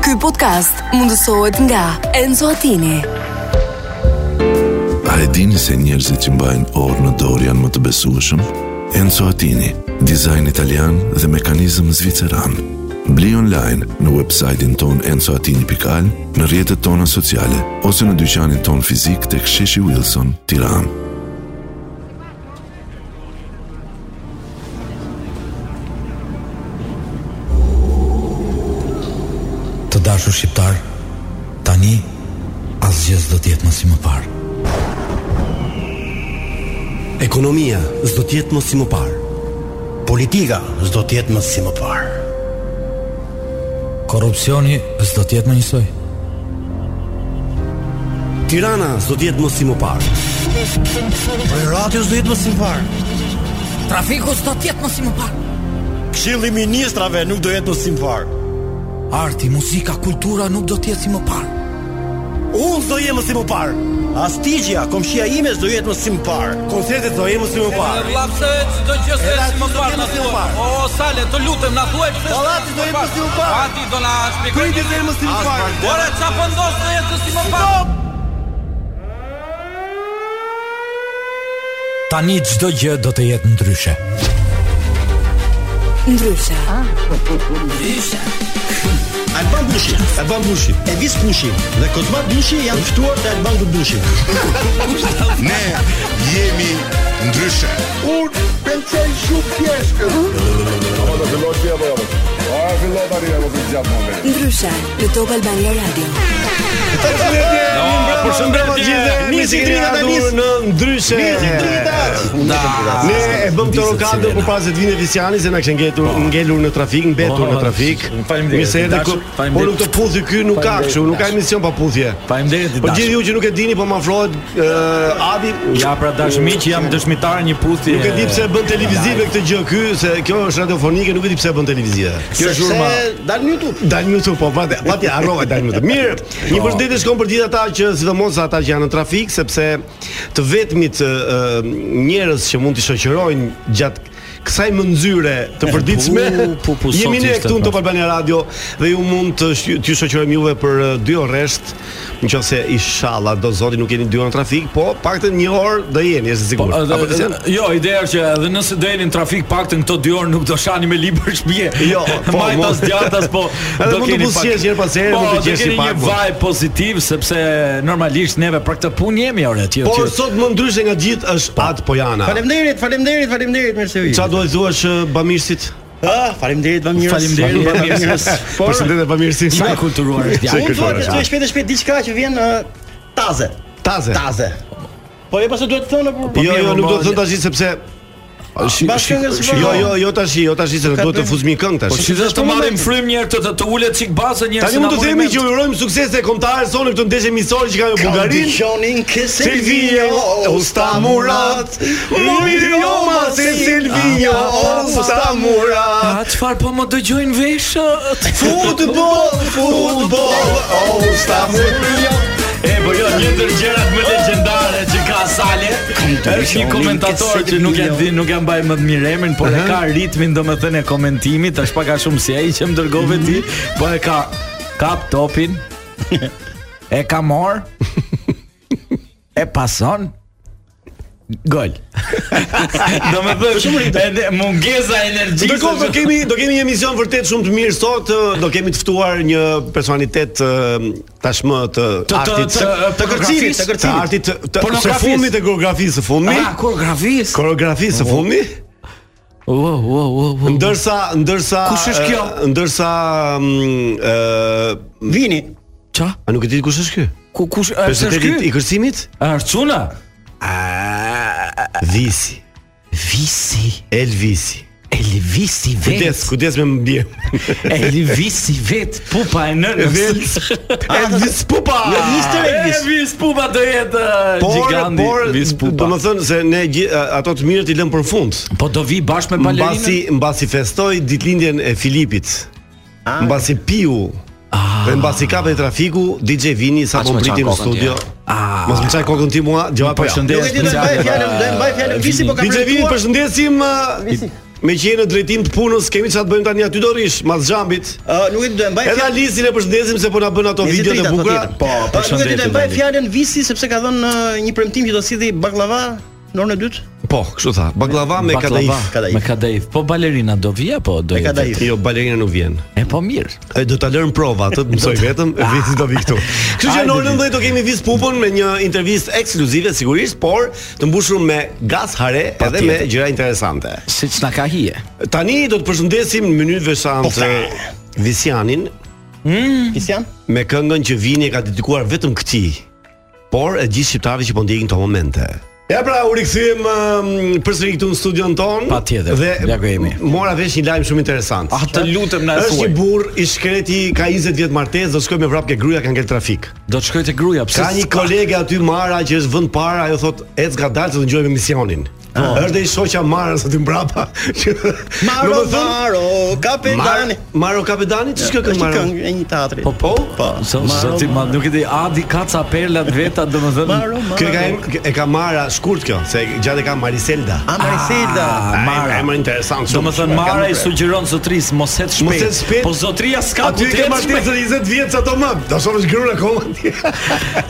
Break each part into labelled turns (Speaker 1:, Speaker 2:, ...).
Speaker 1: Ky podcast mundësohet nga Enzo Attini.
Speaker 2: A e dini se njerëzit që mbajnë orë në dorë janë më të besueshëm? Enzo Attini, dizajn italian dhe mekanizëm zviceran. Bli online në website-in ton enzoatini.al, në rjetët tona sociale, ose në dyqanin ton fizik të ksheshi Wilson, tiran.
Speaker 3: Të dashur shqiptar, tani asgjë s'do të jetë më si më parë.
Speaker 4: Ekonomia s'do të jetë më si më parë. Politika s'do të jetë më si më parë.
Speaker 3: Korrupsioni s'do të jetë më njësoj.
Speaker 4: Tirana s'do të jetë më si më parë. Bajrati s'do jetë më si më parë.
Speaker 5: Trafiku s'do tjetë më si më parë.
Speaker 4: Këshilli i ministrave nuk do jetë më si më parë.
Speaker 3: Arti, muzika, kultura nuk do të jetë si më parë.
Speaker 4: Unë s'do jem më si më parë. Astigja, komshia ime s'do jetë më si më parë. Koncertet do jenë më si më parë.
Speaker 6: Llapse çdo gjë se
Speaker 4: Edhe
Speaker 6: si më
Speaker 4: aty
Speaker 6: parë
Speaker 4: s'do
Speaker 6: na
Speaker 4: jemi si më
Speaker 6: thua.
Speaker 4: parë.
Speaker 6: O Sale, të lutem na thuaj pse.
Speaker 4: Pallati do jetë si më parë.
Speaker 6: Pati do na shpjegoj.
Speaker 4: Prindit do jenë më si më parë.
Speaker 6: Ora ça po ndos të jetë si më parë?
Speaker 3: Tani çdo gjë do të jetë ndryshe.
Speaker 1: Ndryshe,
Speaker 4: Alban Bushi, Alban Bushi, Elvis Bushi dhe Kozma Bushi janë ftuar te Alban Bushi.
Speaker 7: Ne jemi ndryshe.
Speaker 1: ndryshe në Top Albania Radio.
Speaker 8: Përshëndetje.
Speaker 4: Nisi dringat e nis.
Speaker 8: në ndryshe.
Speaker 4: Nisi dringat.
Speaker 8: Ne e bëm të po pra- rokado për pas se të vinë Visiani se na kishin ngetur
Speaker 9: Po.
Speaker 8: ngelur në trafik, mbetur në trafik.
Speaker 9: faleminderit,
Speaker 8: Mirë se erdhi
Speaker 9: Po, dashur,
Speaker 8: ku-
Speaker 9: faleminderit.
Speaker 8: Por nuk të puthi ky nuk ka
Speaker 9: Faleminderit,
Speaker 8: kështu, nuk ka emision pa puthje.
Speaker 9: Faleminderit i
Speaker 8: Po gjithë
Speaker 9: dashur.
Speaker 8: ju që nuk e dini po më afrohet ë, Adi.
Speaker 9: Ja pra dashur miq, jam dëshmitar një puthje.
Speaker 8: Nuk e di pse e bën televizive këtë gjë ky, se kjo është radiofonike, nuk e di pse e bën televizive.
Speaker 9: Kjo është urma.
Speaker 8: dal në YouTube. Dal në YouTube, po vati, vati harrova dal në YouTube. Mirë,
Speaker 9: Po.
Speaker 8: një përshëndetje shkon për gjithë ata që sidomos ata që janë në trafik sepse të vetmit ë, ë, njerëz që mund të shoqërojnë gjatë kësaj mënzyre të përditshme.
Speaker 9: Eh, pu, pu, sot
Speaker 8: Jemi ne
Speaker 9: ishte
Speaker 8: këtu në
Speaker 9: pra.
Speaker 8: Top Albania Radio dhe ju mund të sh- t'ju shoqërojmë juve për ë, dy orësht, nëse inshallah do zoti nuk jeni dy orë në trafik, po paktën një orë do jeni, është e
Speaker 9: Po,
Speaker 8: sigurt.
Speaker 9: edhe-
Speaker 8: Apo të
Speaker 9: edhe- jo, ideja është që edhe nëse do jeni në trafik paktën këto 2 orë nuk do shani me libër shtëpie.
Speaker 8: Jo, po,
Speaker 9: majtas
Speaker 8: mo-
Speaker 9: djathtas po
Speaker 8: Edhe mund të buzqesh herë pas here,
Speaker 9: po,
Speaker 8: mund të
Speaker 9: do
Speaker 8: gjesh si
Speaker 9: keni
Speaker 8: pak,
Speaker 9: Një
Speaker 8: po.
Speaker 9: vibe pozitiv sepse normalisht neve për këtë punë jemi orë atje.
Speaker 8: Por Po, sot më ndryshe nga gjithë është
Speaker 9: Po.
Speaker 8: At Pojana.
Speaker 4: Faleminderit, faleminderit, faleminderit mirë se u
Speaker 8: Çfarë do të thuash eh, bamirësit?
Speaker 4: Ah, faleminderit bamirës.
Speaker 9: Faleminderit,
Speaker 4: bamirës. Por
Speaker 8: Përshëndetje bamirësit.
Speaker 9: sa e kulturuar është
Speaker 8: Sa e
Speaker 4: unë
Speaker 9: djalë.
Speaker 4: thua
Speaker 8: kërkuar
Speaker 4: që
Speaker 8: është.
Speaker 4: shpejt shpejt e shpejt diçka që vjen ë, taze,
Speaker 8: Taze.
Speaker 4: taze. Po e pastaj duhet të thonë për
Speaker 8: Jo, jo,
Speaker 9: mirë,
Speaker 8: nuk do
Speaker 9: po,
Speaker 8: të thon tash sepse
Speaker 4: bashkë nga
Speaker 8: Shi- Jo, jo, jo tash, jo tash se duhet të
Speaker 4: bërë-
Speaker 8: fuzmi këngë
Speaker 9: Po
Speaker 8: tash.
Speaker 9: si do të marrim frymë një herë të të- të ulet çik bazë një herë.
Speaker 8: Tani
Speaker 9: se na
Speaker 8: mund të
Speaker 9: mori
Speaker 8: themi
Speaker 9: mend.
Speaker 8: që urojmë sukses e kombëtare sonë këtë ndeshje miqësore që ka me Bullgarinë.
Speaker 4: Shonin ke
Speaker 8: Silvio, usta Murat, Mirioma se Silvio, usta Murat.
Speaker 9: A çfarë po më dëgjojnë veshët?
Speaker 8: Futbol, futbol, usta Murat.
Speaker 9: E po jo, një ndër gjërat më legjendare që ka Sale është një komentator që nuk e di, nuk e mbaj më të mirë emrin, por e ka ritmin domethënë e komentimit, është pak a shumë si ai që më dërgove ti, po e ka kap topin. E ka marr. E pason. Gol. Do me thënë, mungesa e energjisë.
Speaker 8: Ndërkohë do kemi do kemi një emision vërtet shumë të mirë sot, ë, do kemi të ftuar një personalitet ë, tashmë të
Speaker 9: të-
Speaker 8: artit
Speaker 9: të-
Speaker 8: të kërcimit, të kërcimit, të artit të- të së
Speaker 9: Pornografisë.
Speaker 8: fundit të koreografisë së fundmi,
Speaker 9: Ah, koreografis.
Speaker 8: koreografisë së fundmi,
Speaker 9: Wo, wo, wo, wo.
Speaker 8: ndërsa ndërsa
Speaker 9: Kush është kjo?
Speaker 8: ë, Ndërsa mm, ë vini.
Speaker 9: Ça?
Speaker 8: A nuk e di kush është ky?
Speaker 9: Ku kush a, është
Speaker 8: Personaliteti
Speaker 9: ky?
Speaker 8: i kërcimit?
Speaker 9: Arçuna.
Speaker 8: Visi,
Speaker 9: Visi,
Speaker 8: Elvisi.
Speaker 9: Elvisi
Speaker 8: Kujdes,
Speaker 9: vet.
Speaker 8: kujdes me mbje.
Speaker 9: Elvisi vet, pupa e nënës.
Speaker 8: Elvis. Elvis Pupa.
Speaker 9: Mr. Elvis. Elvis pupa do jetë uh,
Speaker 8: Por,
Speaker 9: giganti
Speaker 8: por,
Speaker 9: Elvis
Speaker 8: do
Speaker 9: pupa.
Speaker 8: më thënë se ne gji- a- ato të mirët i lëmë për fund.
Speaker 9: Po do vi bashkë me balerinën.
Speaker 8: Mbasi mbasi festoi ditëlindjen e Filipit. Mbasi piu. Dhe mbasi kapej trafiku, DJ Vini sa po mbriti në studio. Mos më çaj kokën ti mua, gjova po. ja.
Speaker 9: Përshëndetje.
Speaker 4: Nuk e di do të mbaj fjalën, do të mbaj fjalën Visi po ka
Speaker 8: DJ Vini, përshëndesim. uh, me që jeni në drejtim të punës, kemi çfarë të bëjmë tani aty dorish, mas xhambit.
Speaker 4: Ë, nuk e do të mbaj
Speaker 8: Edhe
Speaker 4: fjalën.
Speaker 8: Alisin e përshëndesim se po na bën ato
Speaker 4: Me
Speaker 8: videot e
Speaker 4: zitritat,
Speaker 8: bukura.
Speaker 4: patjetër.
Speaker 9: Po,
Speaker 4: Po, nuk e do
Speaker 9: përshëndetje.
Speaker 4: të mbaj
Speaker 9: Dali.
Speaker 4: fjalën Visi sepse ka dhënë ë, një premtim që do sidhi baklava në orën e dytë.
Speaker 8: Po, kështu tha. Baklava me
Speaker 9: Baklava,
Speaker 8: kadaif.
Speaker 4: kadaif.
Speaker 9: Me kadaif. Po balerina do vi apo do
Speaker 4: Me
Speaker 9: jetë?
Speaker 4: kadaif.
Speaker 8: Jo, balerina nuk vjen.
Speaker 9: E po mirë.
Speaker 8: E do ta lërm prova, atë të mësoj vetëm, e viti do vi këtu. Kështu që
Speaker 9: Hajde,
Speaker 8: në orën 19 do kemi Vis Pupën me një intervistë ekskluzive sigurisht, por të mbushur me gaz hare edhe me
Speaker 9: tjetër.
Speaker 8: gjëra interesante.
Speaker 9: Siç na ka hije.
Speaker 8: Tani do të përshëndesim në mënyrë
Speaker 9: Po,
Speaker 8: veçantë Visianin
Speaker 4: Kristian?
Speaker 8: me këngën që vini e ka dedikuar vetëm këtij, por e gjithë shqiptarëve që po ndjekin këto momente. Ja pra, u rikthyem um, përsëri këtu në studion ton.
Speaker 9: Patjetër, ja ku
Speaker 8: Dhe
Speaker 9: jemi.
Speaker 8: mora vesh një lajm shumë interesant.
Speaker 9: Ah, të lutem na e
Speaker 8: Është
Speaker 9: thuaj.
Speaker 8: një burr i shkreti, ka 20 vjet martesë, do shkoj me vrap ke gruaja kanë ngel trafik.
Speaker 9: Do të shkoj te gruaja pse?
Speaker 8: Ka një
Speaker 9: s'ka-
Speaker 8: kolege aty Mara që është vend para, ajo thot ec nga dalë të ngjojmë misionin. Është dhe i shoqja Marës aty mbrapa. që-
Speaker 4: Maro,
Speaker 8: Domethënë,
Speaker 4: Maro, kapetani.
Speaker 8: Mar- Maro Kapedani, ç'është kjo këngë
Speaker 4: Është
Speaker 8: Maro?
Speaker 4: këngë e një teatri.
Speaker 9: Po po. Zo- Zoti ma nuk e di Adi Kaca Perlat veta domethënë.
Speaker 8: Kjo e ka e ka Mara shkurt kjo, se gjatë e ka Mariselda.
Speaker 4: A Mariselda.
Speaker 9: Ah, Mara.
Speaker 8: Emër interesant. shumë.
Speaker 9: Domethënë Mara i sugjeron zotris mos et shpejt.
Speaker 8: Mos ecë shpejt.
Speaker 9: Po zotria s'ka
Speaker 8: Aty ke martesë 20 vjet sa do më. Do shohësh grua akoma.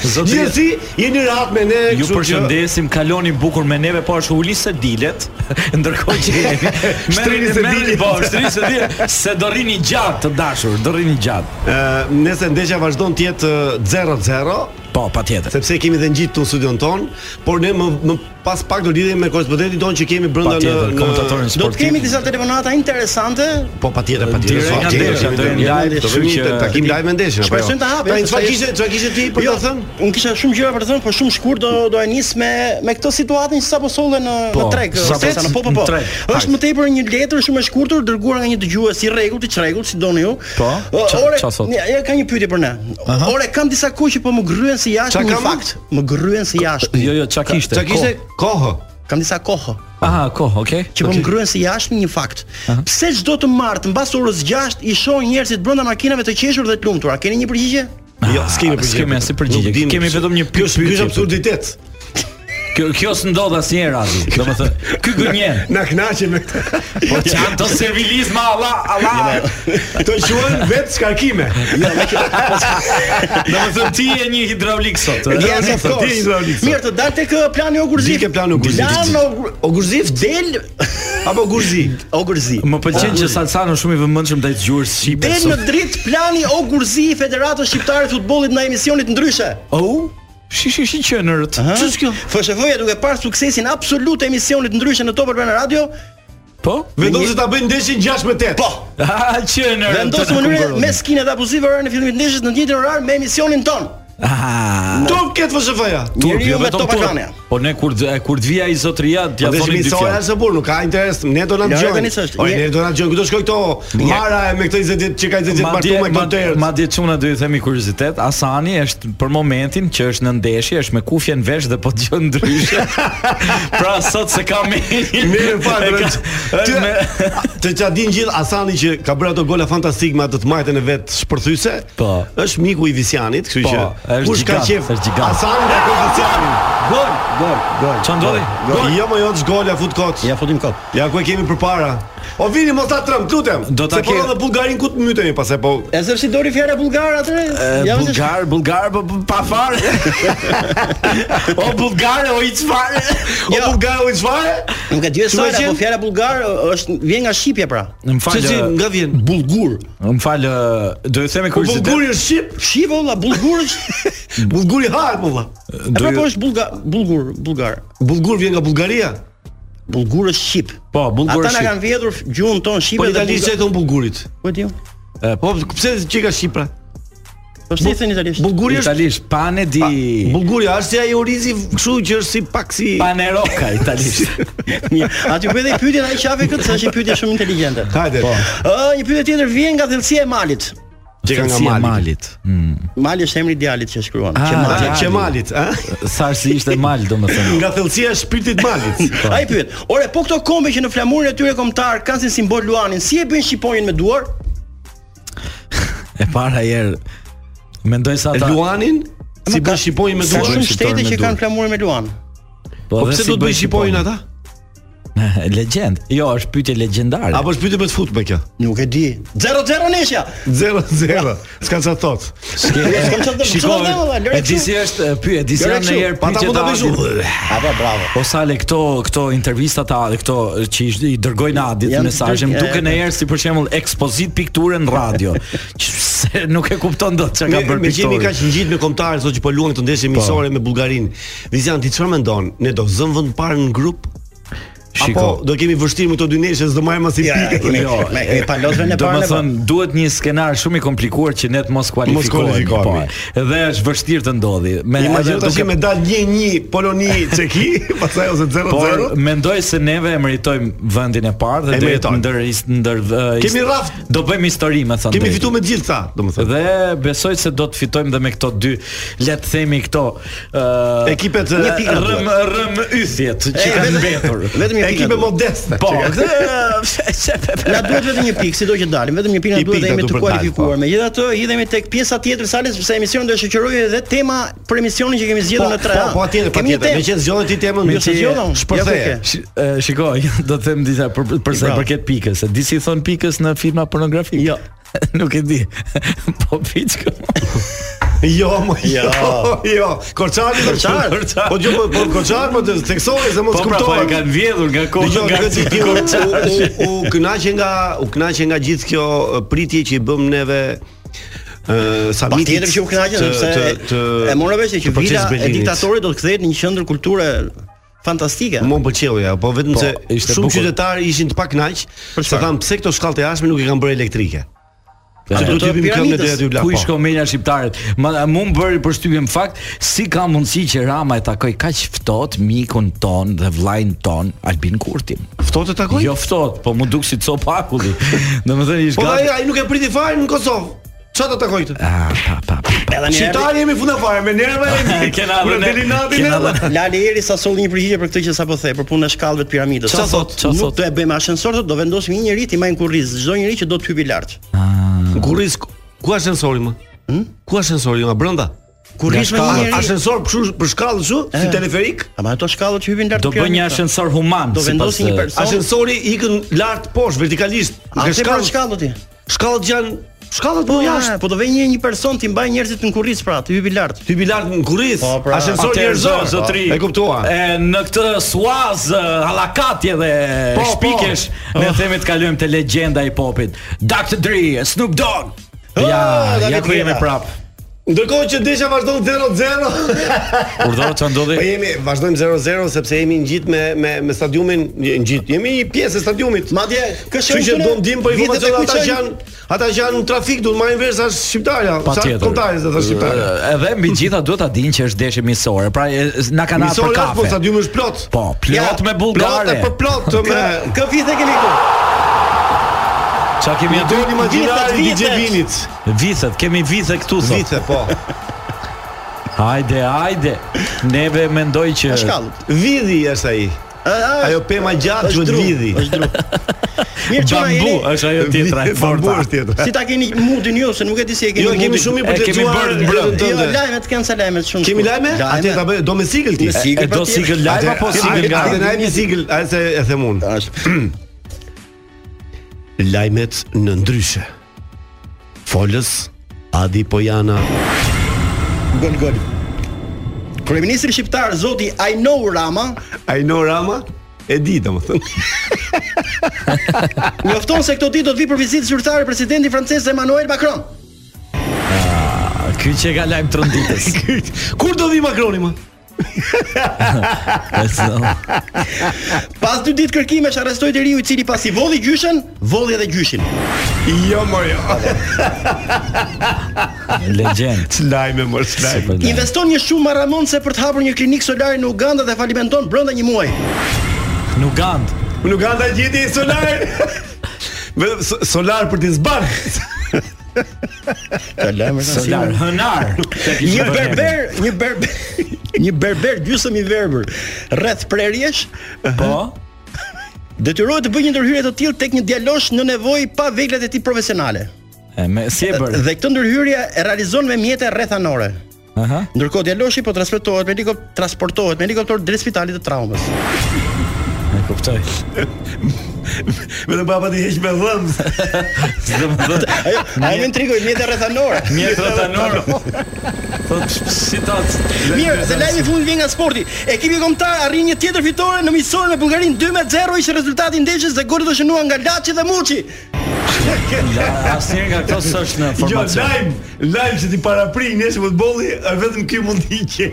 Speaker 9: Zotri-
Speaker 8: Gjithsesi, jeni rahat me ne,
Speaker 9: Ju
Speaker 8: kështu që-
Speaker 9: përshëndesim, kaloni bukur me neve, po është uli se dilet, ndërkohë që jemi.
Speaker 8: Shtrini se
Speaker 9: merreni-
Speaker 8: dilet.
Speaker 9: Po, shtrini se dilet, se do rini gjatë të dashur, do rini gjatë.
Speaker 8: Ë, Nëse ndeshja vazhdon të jetë ë, 0-0,
Speaker 9: Po, patjetër.
Speaker 8: sepse kemi dhe ngjitë tu në studion ton, por ne më, më pas pak do lidhemi me korrespondentin ton që kemi brenda në,
Speaker 9: Patjetër, komentatorin
Speaker 8: në
Speaker 4: Do të kemi disa telefonata interesante.
Speaker 8: Po patjetër, patjetër.
Speaker 9: Direkt
Speaker 8: sa,
Speaker 9: nga
Speaker 8: gjë,
Speaker 9: ndeshja,
Speaker 8: kemi
Speaker 9: do jenë
Speaker 8: një-
Speaker 9: live,
Speaker 8: do
Speaker 9: kështu
Speaker 8: vemi
Speaker 9: që-
Speaker 8: takim live me ndeshjen apo jo?
Speaker 4: Shpresojmë ta hapim,
Speaker 8: Tani çfarë
Speaker 4: sepse
Speaker 8: kishe, çfarë kishe ti për
Speaker 4: Jo,
Speaker 8: ta thënë?
Speaker 4: unë kisha shumë gjëra për të thënë, por shumë shkurt do do e nis me me këtë situatën që sapo solle në
Speaker 9: Po,
Speaker 4: në treg,
Speaker 9: sapo
Speaker 4: ose sa në po po po.
Speaker 9: në treg.
Speaker 4: Është më tepër një letër shumë e shkurtër dërguar nga një dëgjues i rregullt, i çrregullt, si doni ju.
Speaker 9: Po,
Speaker 4: Ë,
Speaker 9: ça-
Speaker 4: Ore,
Speaker 9: ça thot?
Speaker 4: ja, ja ka një pyetje për ne. Ore, kam disa kohë që po më gryen si
Speaker 8: Ça
Speaker 4: jashtë në
Speaker 8: kam?
Speaker 4: fakt. Më gryen si jashtë.
Speaker 9: Jo, jo, çka kishte?
Speaker 8: Çfarë kishte? Kohë.
Speaker 4: Kam disa kohë
Speaker 9: Ko- Aha, kohë, okay.
Speaker 4: që po më gryen si jashtë një fakt. Pse çdo të martë mbas orës 6 i shoh njerëzit brenda makinave të qeshur dhe të lumtura? Keni një përgjigje?
Speaker 8: Jo, s'kemi
Speaker 9: Ah,
Speaker 8: përgjigje.
Speaker 9: s'kemi asnjë përgjigje.
Speaker 8: Nuk dim-
Speaker 9: Kemi vetëm një
Speaker 8: Kjo është- ky
Speaker 9: pyetje.
Speaker 8: është absurditet.
Speaker 9: Kjo kjo s'ndodh asnjëherë Adi. Domethënë, ky gënjen.
Speaker 8: Na kënaqem me këtë.
Speaker 9: Po çan të servilizma Allah, Allah.
Speaker 8: Kto quhen vetë skarkime.
Speaker 9: Domethënë ti je një hidraulik sot.
Speaker 8: E,
Speaker 9: ë?
Speaker 8: ja,
Speaker 4: Yes, of
Speaker 8: Ti
Speaker 4: course.
Speaker 8: je hidraulik,
Speaker 4: Mirë, të dal tek uh, plani Ogurziv.
Speaker 8: Dike plani Ogurziv.
Speaker 4: Plan Ogur- Ogurziv del
Speaker 8: Apo gurzi.
Speaker 4: Ogurziv.
Speaker 9: Më pëlqen që Salsano është shumë i vëmendshëm ndaj dëgjues shqiptar.
Speaker 4: Del në dritë plani Ogurzi i Federatës Shqiptare të Futbollit në emisionit ndryshe.
Speaker 9: Oh, shi shi shi qenërët.
Speaker 4: Ç'është kjo? FSHF-ja duke parë suksesin absolut të emisionit ndryshe në Top Albana Radio,
Speaker 9: Po?
Speaker 8: Vendosi ta bëjnë ndeshjen 6 me 8. Po.
Speaker 9: Ah, qenërët.
Speaker 4: vendosë në mënyrë me skinë dhe abuzive orën e fillimit të ndeshjes në të njëjtin orar me emisionin ton.
Speaker 9: Ah.
Speaker 8: Top ket VSF-ja.
Speaker 4: Njeriu
Speaker 9: jo
Speaker 4: me
Speaker 9: vetëm
Speaker 4: Top
Speaker 9: turp.
Speaker 4: Albania.
Speaker 9: Po ne kur kur të vija i zotëria t'ja
Speaker 8: Ja
Speaker 9: thoni
Speaker 8: thoni
Speaker 9: dy
Speaker 8: se ora
Speaker 9: fjalë.
Speaker 8: Po është burr, nuk ka interes. Ne do na
Speaker 4: Ja,
Speaker 8: dëgjojnë.
Speaker 4: organizë është.
Speaker 8: Ore,
Speaker 4: Një-
Speaker 8: ne do na dëgjojnë. Këto shkoj këto Mara e me këtë 20 ditë që ka 20 ditë martu me këto
Speaker 9: madje
Speaker 8: derë.
Speaker 9: madje çuna do i themi kuriozitet, Asani është për momentin që është në ndeshje, është me kufje në vesh dhe po dëgjon ndryshe. pra sot se ka me.
Speaker 8: Mirë fal.
Speaker 9: E ka-
Speaker 8: Ti
Speaker 9: është me-
Speaker 8: të ça din gjithë Asani që ka bërë ato gola fantastik me atë të majtën e vet shpërthyse.
Speaker 9: Po.
Speaker 8: Është miku i Visianit, kështu
Speaker 9: Po,
Speaker 8: që
Speaker 9: është
Speaker 8: kush ka
Speaker 9: gjigant,
Speaker 8: qef
Speaker 9: është gjigant.
Speaker 8: Asani nga Kombiciani.
Speaker 9: Gol, gol, gol. Çan ndodhi?
Speaker 8: Jo më jot gola fut kot.
Speaker 4: Ja futim kot.
Speaker 8: Ja ku e kemi përpara. O vini mos ta trëm, lutem.
Speaker 9: Do ta
Speaker 8: Se po
Speaker 9: ke-
Speaker 8: edhe Bullgarin ku të mytemi pastaj po.
Speaker 4: E zërshi dori fjala bullgar atëre? Ja,
Speaker 9: Eh,
Speaker 4: vëse-
Speaker 9: Bulgar, bulgar po po- pa fare. o bulgar, o i çfarë?
Speaker 8: O Bullgaru i çfarë?
Speaker 4: Nuk e di
Speaker 8: Çfarë
Speaker 4: sa,
Speaker 8: qenë?
Speaker 4: po fjala bullgar ë, është vjen nga shqipja pra.
Speaker 9: Më fal.
Speaker 8: Çi nga vjen?
Speaker 4: Bullgur.
Speaker 9: Më fal, eh, do të
Speaker 8: Po,
Speaker 9: themi kuriozitet.
Speaker 8: Bullgari është shqip.
Speaker 4: Shi valla bullgur është.
Speaker 8: Bullguri hahet më valla.
Speaker 4: E pra po është bullgar, bullgur, bullgar.
Speaker 8: Bullgur vjen nga Bullgaria.
Speaker 4: Bullgur është shqip.
Speaker 9: Po, bullgur
Speaker 4: Ata na kanë vjedhur gjuhën tonë
Speaker 8: Po
Speaker 4: shqipe dhe
Speaker 8: italisht e
Speaker 4: bullgar.
Speaker 8: thon Bullgurit.
Speaker 4: Po e di. unë.
Speaker 8: Po pse çika Shqipra?
Speaker 4: Po si e thënë italisht?
Speaker 8: Bullguri është
Speaker 9: italisht, pane di.
Speaker 8: Bullguria është si ai orizi kështu që është si pak si
Speaker 9: Paneroka italisht.
Speaker 4: Mirë. Aty bëhet dhe pyetjen ai qafe këtë, sa është një pyetje shumë inteligjente.
Speaker 8: Hajde.
Speaker 4: Ë, një pyetje tjetër vjen nga thellësia e malit.
Speaker 8: Çika nga
Speaker 9: Si e
Speaker 8: mali.
Speaker 9: malit.
Speaker 4: Mali është emri i djalit që shkruan.
Speaker 9: Ah,
Speaker 4: Qemali.
Speaker 8: Ah,
Speaker 9: Mali.
Speaker 8: Qemalit, a?
Speaker 9: Sa si ishte mal, domethënë.
Speaker 8: Nga thellësia e shpirtit malit.
Speaker 4: Ai pyet, "Ore, po këto kombe që në flamurin e tyre kombëtar kanë si simbol Luanin, si e bëjnë shqiponjën me duar?"
Speaker 9: E para herë mendoj se ata
Speaker 8: Luanin si bën shqiponjë me
Speaker 4: Ka
Speaker 8: duar.
Speaker 4: shumë
Speaker 9: shqiptarë me
Speaker 4: shtete që
Speaker 9: duar.
Speaker 4: kanë flamurin me Luan.
Speaker 8: Po
Speaker 9: dhe
Speaker 8: pse
Speaker 9: si
Speaker 8: do të
Speaker 9: bëjnë
Speaker 8: bëj shqiponjën ata?
Speaker 9: Legjend. Jo, është pyetje legjendare.
Speaker 8: Apo është pyetje me të futme kjo?
Speaker 4: Nuk e di. 0-0 nesha.
Speaker 8: 0-0. S'ka çfarë thot.
Speaker 4: s'kam çfarë të-
Speaker 9: Shiko,
Speaker 4: çfarë do, valla, lëre
Speaker 9: e di si është e, pyet, di si
Speaker 8: Lëre
Speaker 9: janë
Speaker 8: kështu,
Speaker 9: në herë
Speaker 8: pa ta mund ta bëj
Speaker 9: pyetje.
Speaker 8: shumë.
Speaker 4: Apo bravo.
Speaker 9: O sale Po këto këto intervista ta dhe këto që i, i dërgojnë Adit
Speaker 4: Janë
Speaker 9: mesazhe më
Speaker 4: dërg-
Speaker 9: duken
Speaker 4: e,
Speaker 9: në herë si për shembull ekspozit pikture në radio. që se nuk e kupton dot çka ka
Speaker 8: Me-
Speaker 9: bërë
Speaker 8: Me jemi
Speaker 9: pikturë.
Speaker 8: kaq ngjit me kombëtarë sot që po luajnë këtë ndeshje miqësore me Bullgarinë. Vizian ti çfarë mendon? Ne do zëm vend parë në grup? Apo
Speaker 9: Shiko.
Speaker 8: do kemi vështirë me këto dy neshe s'do marrim as i pikë.
Speaker 4: Jo, me me palosën e
Speaker 9: Do
Speaker 4: parë.
Speaker 9: më
Speaker 4: ne po.
Speaker 9: thënë, duhet një skenar shumë i komplikuar që ne të mos kualifikohemi.
Speaker 8: kualifikohemi.
Speaker 9: po. Dhe është vështirë të ndodhi. Me
Speaker 8: Imagjino
Speaker 9: edhe
Speaker 8: tash
Speaker 9: duke-
Speaker 8: me dal 1-1 Poloni Çeki, pastaj ose 0-0.
Speaker 9: Por mendoj se neve e meritojmë vendin e parë
Speaker 8: E
Speaker 9: dhe do të
Speaker 8: meritojmë.
Speaker 9: ndër is- ndër eh,
Speaker 8: Kemi
Speaker 9: is-
Speaker 8: raft.
Speaker 9: Do bëjmë histori, më thënë.
Speaker 8: Kemi
Speaker 9: drejtën.
Speaker 8: fituar me të gjithë ta, domethënë.
Speaker 9: Dhe besoj se do të fitojmë dhe me këto dy, le të themi këto uh, ë
Speaker 8: Ekipet e,
Speaker 9: rëm rëm ythjet që
Speaker 4: E,
Speaker 9: kanë
Speaker 4: vetëm-
Speaker 9: mbetur.
Speaker 4: Vetëm një pikë.
Speaker 8: ekipe modeste.
Speaker 9: Po, uh,
Speaker 8: Që-
Speaker 9: këtë
Speaker 4: Na duhet vetëm një pikë, sido që dalim, vetëm një pikë
Speaker 8: Një
Speaker 4: na duhet
Speaker 8: pikë
Speaker 4: dhe
Speaker 8: na
Speaker 4: jemi
Speaker 8: duhet
Speaker 4: të
Speaker 8: për dalë, po.
Speaker 4: kualifikuar. Megjithatë, hidhemi tek pjesa tjetër e salës sepse emisioni do e shoqërojë edhe tema për emisionin që kemi
Speaker 8: Po,
Speaker 4: zgjedhur në tre.
Speaker 8: po, po atjetër, po atjetër. Me që zgjodhet ti temën, jo,
Speaker 4: Me
Speaker 8: më
Speaker 4: që zgjodhëm,
Speaker 8: Shpërtheje.
Speaker 4: ja ku
Speaker 9: Sh- e, uh, Shiko, do të them disa për për sa i
Speaker 4: Bravo.
Speaker 9: përket pikës. E Di si thon pikës në filma pornografik?
Speaker 4: Jo.
Speaker 9: Nuk e di. po piçko.
Speaker 8: Jo, mo, jo,
Speaker 4: Jo.
Speaker 8: jo. Korçari, korçar.
Speaker 9: Korçar.
Speaker 8: Po gjë po po, korçar, po të theksoj se mos
Speaker 9: Po pra, po e
Speaker 8: kuptoj.
Speaker 9: kanë vjedhur nga kohë
Speaker 8: Dëgjoj,
Speaker 9: nga
Speaker 8: nga ti u u- u kënaqe nga u kënaqe nga gjithë kjo eh, pritje që i bëm neve ë
Speaker 4: Pa
Speaker 8: samitit.
Speaker 4: tjetër që u kënaqem
Speaker 8: të-
Speaker 4: sepse
Speaker 8: të- të-
Speaker 4: e morra vesh që
Speaker 8: të
Speaker 4: vila
Speaker 8: procesit
Speaker 4: e
Speaker 8: Berlinit.
Speaker 4: diktatorit do të kthehet në një qendër kulture fantastike.
Speaker 8: Mo më pëlqeu ja, po vetëm
Speaker 9: Po,
Speaker 8: se
Speaker 9: ishte
Speaker 8: shumë
Speaker 9: bukur.
Speaker 8: qytetarë ishin të pakënaq,
Speaker 4: Për
Speaker 8: se
Speaker 4: çfarë?
Speaker 8: thanë pse këto shkallë të jashtme nuk i kanë bërë elektrike.
Speaker 9: Po,
Speaker 8: Që do
Speaker 4: Ato
Speaker 8: të hyjmë këmbë në
Speaker 4: piramidës,
Speaker 8: deri aty la.
Speaker 9: Ku i
Speaker 8: po.
Speaker 9: shko menia shqiptarët? Ma mu më bëri përshtypjen fakt si ka mundësi që Rama e takoj kaq ftohtë mikun ton dhe vllajin ton Albin Kurtin.
Speaker 8: Ftohtë të takoj?
Speaker 9: Jo ftohtë, po mu duk si cop akulli. Domethënë ish
Speaker 8: Po ai
Speaker 9: gati.
Speaker 8: ai nuk e priti fare në Kosovë. Çfarë do takoj këtë?
Speaker 9: Ah, pa, pa, pa.
Speaker 4: Edhe një herë
Speaker 8: Shqiptari jemi funda fare me nerva jemi.
Speaker 9: Kena
Speaker 8: Kur
Speaker 9: dhe ne-
Speaker 8: deli natin
Speaker 9: kena
Speaker 8: edhe.
Speaker 9: dhe-
Speaker 4: Lali Eri sa solli një përgjigje për këtë që sapo the, për punën e shkallëve të piramidës.
Speaker 9: Çfarë thot? Çfarë
Speaker 4: Nuk
Speaker 9: thot?
Speaker 4: do e bëjmë ashensor, do vendosim një njerëz i majmë kurriz, çdo njerëz që do të hypi lart.
Speaker 8: Kurriz ku është sensori më? Hm? Ku është sensori më brenda?
Speaker 4: Kurriz me një
Speaker 8: Ka
Speaker 4: njerëz.
Speaker 8: sensor kështu për shkallë kështu, si
Speaker 4: E.
Speaker 8: teleferik?
Speaker 4: Ama ato shkallët që hypin lart.
Speaker 9: Do
Speaker 4: të
Speaker 9: bëj një
Speaker 4: piramidës.
Speaker 9: ashensor human.
Speaker 4: Do
Speaker 9: sipas,
Speaker 4: vendosin një
Speaker 9: eh,
Speaker 4: person.
Speaker 8: Ashensori ikën lart poshtë vertikalisht.
Speaker 4: A
Speaker 8: Nga
Speaker 4: ke për
Speaker 8: shkallë
Speaker 4: pra shkallët ti?
Speaker 8: shkallët janë shkallët
Speaker 4: Po
Speaker 8: po
Speaker 4: jashtë,
Speaker 8: jashtë.
Speaker 4: po do vë një një person ti mbaj njerëzit në kurriz pra, ti hypi lart.
Speaker 8: Ty bi lart në kurriz.
Speaker 4: Po, pra.
Speaker 8: Ashensor
Speaker 9: Atëherë,
Speaker 8: njerëzor
Speaker 9: zotri.
Speaker 8: E kuptua.
Speaker 9: E, në këtë suaz eh, hallakatje dhe
Speaker 8: Po, po.
Speaker 9: shpikesh, ne themi të kalojmë te legjenda i popit. Dr. Dre, Snoop Dogg.
Speaker 8: Oh,
Speaker 9: Ja,
Speaker 8: Dr.
Speaker 9: ja ku jemi
Speaker 8: Dre.
Speaker 9: prap.
Speaker 8: Ndërkohë që desha vazhdon 0-0.
Speaker 9: Urdhëro çfarë ndodhi?
Speaker 8: Po jemi vazhdojmë 0-0 sepse jemi ngjit me me me stadiumin, ngjit. Jemi një pjesë e stadiumit.
Speaker 4: Madje kështu
Speaker 8: Kështu që do ndjem po informacion ata që
Speaker 4: janë
Speaker 8: janë ata që janë në trafik do të marrin vesh sa shqiptarja, sa
Speaker 9: Patjetër.
Speaker 8: kontarës ata shqiptarja.
Speaker 9: Ë, Edhe mbi gjitha duhet ta dinë që është deshje miqësore. Pra e, s- na kanë hapur
Speaker 8: Misori është po
Speaker 9: kafe.
Speaker 8: stadiumi është plot.
Speaker 9: Po, plot me
Speaker 8: Plot
Speaker 9: bullgare.
Speaker 8: e për plot me
Speaker 4: Pra, Kë vite kemi këtu?
Speaker 9: Çka kemi aty?
Speaker 8: Doni imagjinari
Speaker 4: Vitet,
Speaker 8: DJ
Speaker 4: vitet.
Speaker 8: Vinit.
Speaker 9: Vithet, kemi vithe këtu sot.
Speaker 8: Vite po.
Speaker 9: Hajde, hajde. Neve mendoj që
Speaker 4: Shkallët.
Speaker 8: Vidhi është ai. Ajo pema gjatë
Speaker 4: është
Speaker 8: quhet
Speaker 4: dru,
Speaker 8: vidhi.
Speaker 4: Është dru. Mirë çuna
Speaker 9: bambu
Speaker 4: jeni.
Speaker 9: është ajo tjetra e forta.
Speaker 8: Bambu është tjetra.
Speaker 4: Si ta keni mundin ju se nuk e di si e keni.
Speaker 8: Jo, kemi
Speaker 4: mundin.
Speaker 8: shumë
Speaker 9: E
Speaker 8: mirë për të
Speaker 9: kemi
Speaker 8: lexuar
Speaker 9: bërë në brëndë.
Speaker 8: brendën
Speaker 4: Jo,
Speaker 8: tënde.
Speaker 4: lajmet kanë sa lajmet shumë.
Speaker 8: Kemi
Speaker 4: shumë.
Speaker 8: lajme? Atje ta bëj do me sigël ti.
Speaker 9: E
Speaker 4: Me sigël
Speaker 9: do sigël
Speaker 4: patjetër.
Speaker 9: live
Speaker 8: Po,
Speaker 9: apo sigël nga?
Speaker 8: Atë na jemi sigël, a se e them unë. Lajmet në ndryshe. Folës Adi Pojana.
Speaker 4: Gol gol. Kryeministri shqiptar zoti Ajnou Rama
Speaker 8: Aino Rama e di domethënë.
Speaker 4: njofton se këto ditë do të vi për vizitë zyrtare presidenti francez Emmanuel Macron.
Speaker 9: Ky që e ka lajm tronditës.
Speaker 8: Kur do vi Macroni më?
Speaker 4: Pas dy ditë kërkimesh arrestoi deriu i cili pasi volli gjyshen, volli edhe gjyshin.
Speaker 8: Jo më jo.
Speaker 9: Legjend.
Speaker 8: Lajme më lajme.
Speaker 4: Investon një shumë marramonse për të hapur një klinikë solare në Uganda dhe falimenton brenda një muaji.
Speaker 9: Në Ugandë.
Speaker 8: Unë nuk ata gjeti solar. Vetëm so- solar për të zbar.
Speaker 9: Solar, hënar.
Speaker 4: Një berber, një berber, një berber gjysëm i verbër rreth prerjesh
Speaker 9: Po.
Speaker 4: detyrohet të bëjë një ndërhyrje të tillë tek një djalosh në nevojë pa veglat e tij profesionale.
Speaker 9: E, me si e bërë?
Speaker 4: Dhe këtë ndërhyrje e realizon me mjete rrethanore.
Speaker 9: Aha.
Speaker 4: Ndërkohë djaloshi po transportohet me helikopter transportohet me helikopter drejt spitalit të traumës.
Speaker 9: kuptoj.
Speaker 8: Vetëm papa ti heq me dhëmbë.
Speaker 9: S'do më thënë.
Speaker 4: Ajo, ajo më intrigoi mjetë rrethanore.
Speaker 9: Mjetra tanor. Thot si ta.
Speaker 4: Mirë, se lajmi fund vjen nga sporti. Ekipi kombëtar arrin një tjetër fitore në miqësorën me Bullgarinë 2-0 ishte rezultati i ndeshjes dhe golet u shënuan nga Laçi dhe Muçi.
Speaker 9: Asnjë nga këto s'është në
Speaker 8: Jo,
Speaker 9: formacion.
Speaker 8: lajm, lajm se ti paraprin nesër futbolli, a vetëm ky mund të hiqe.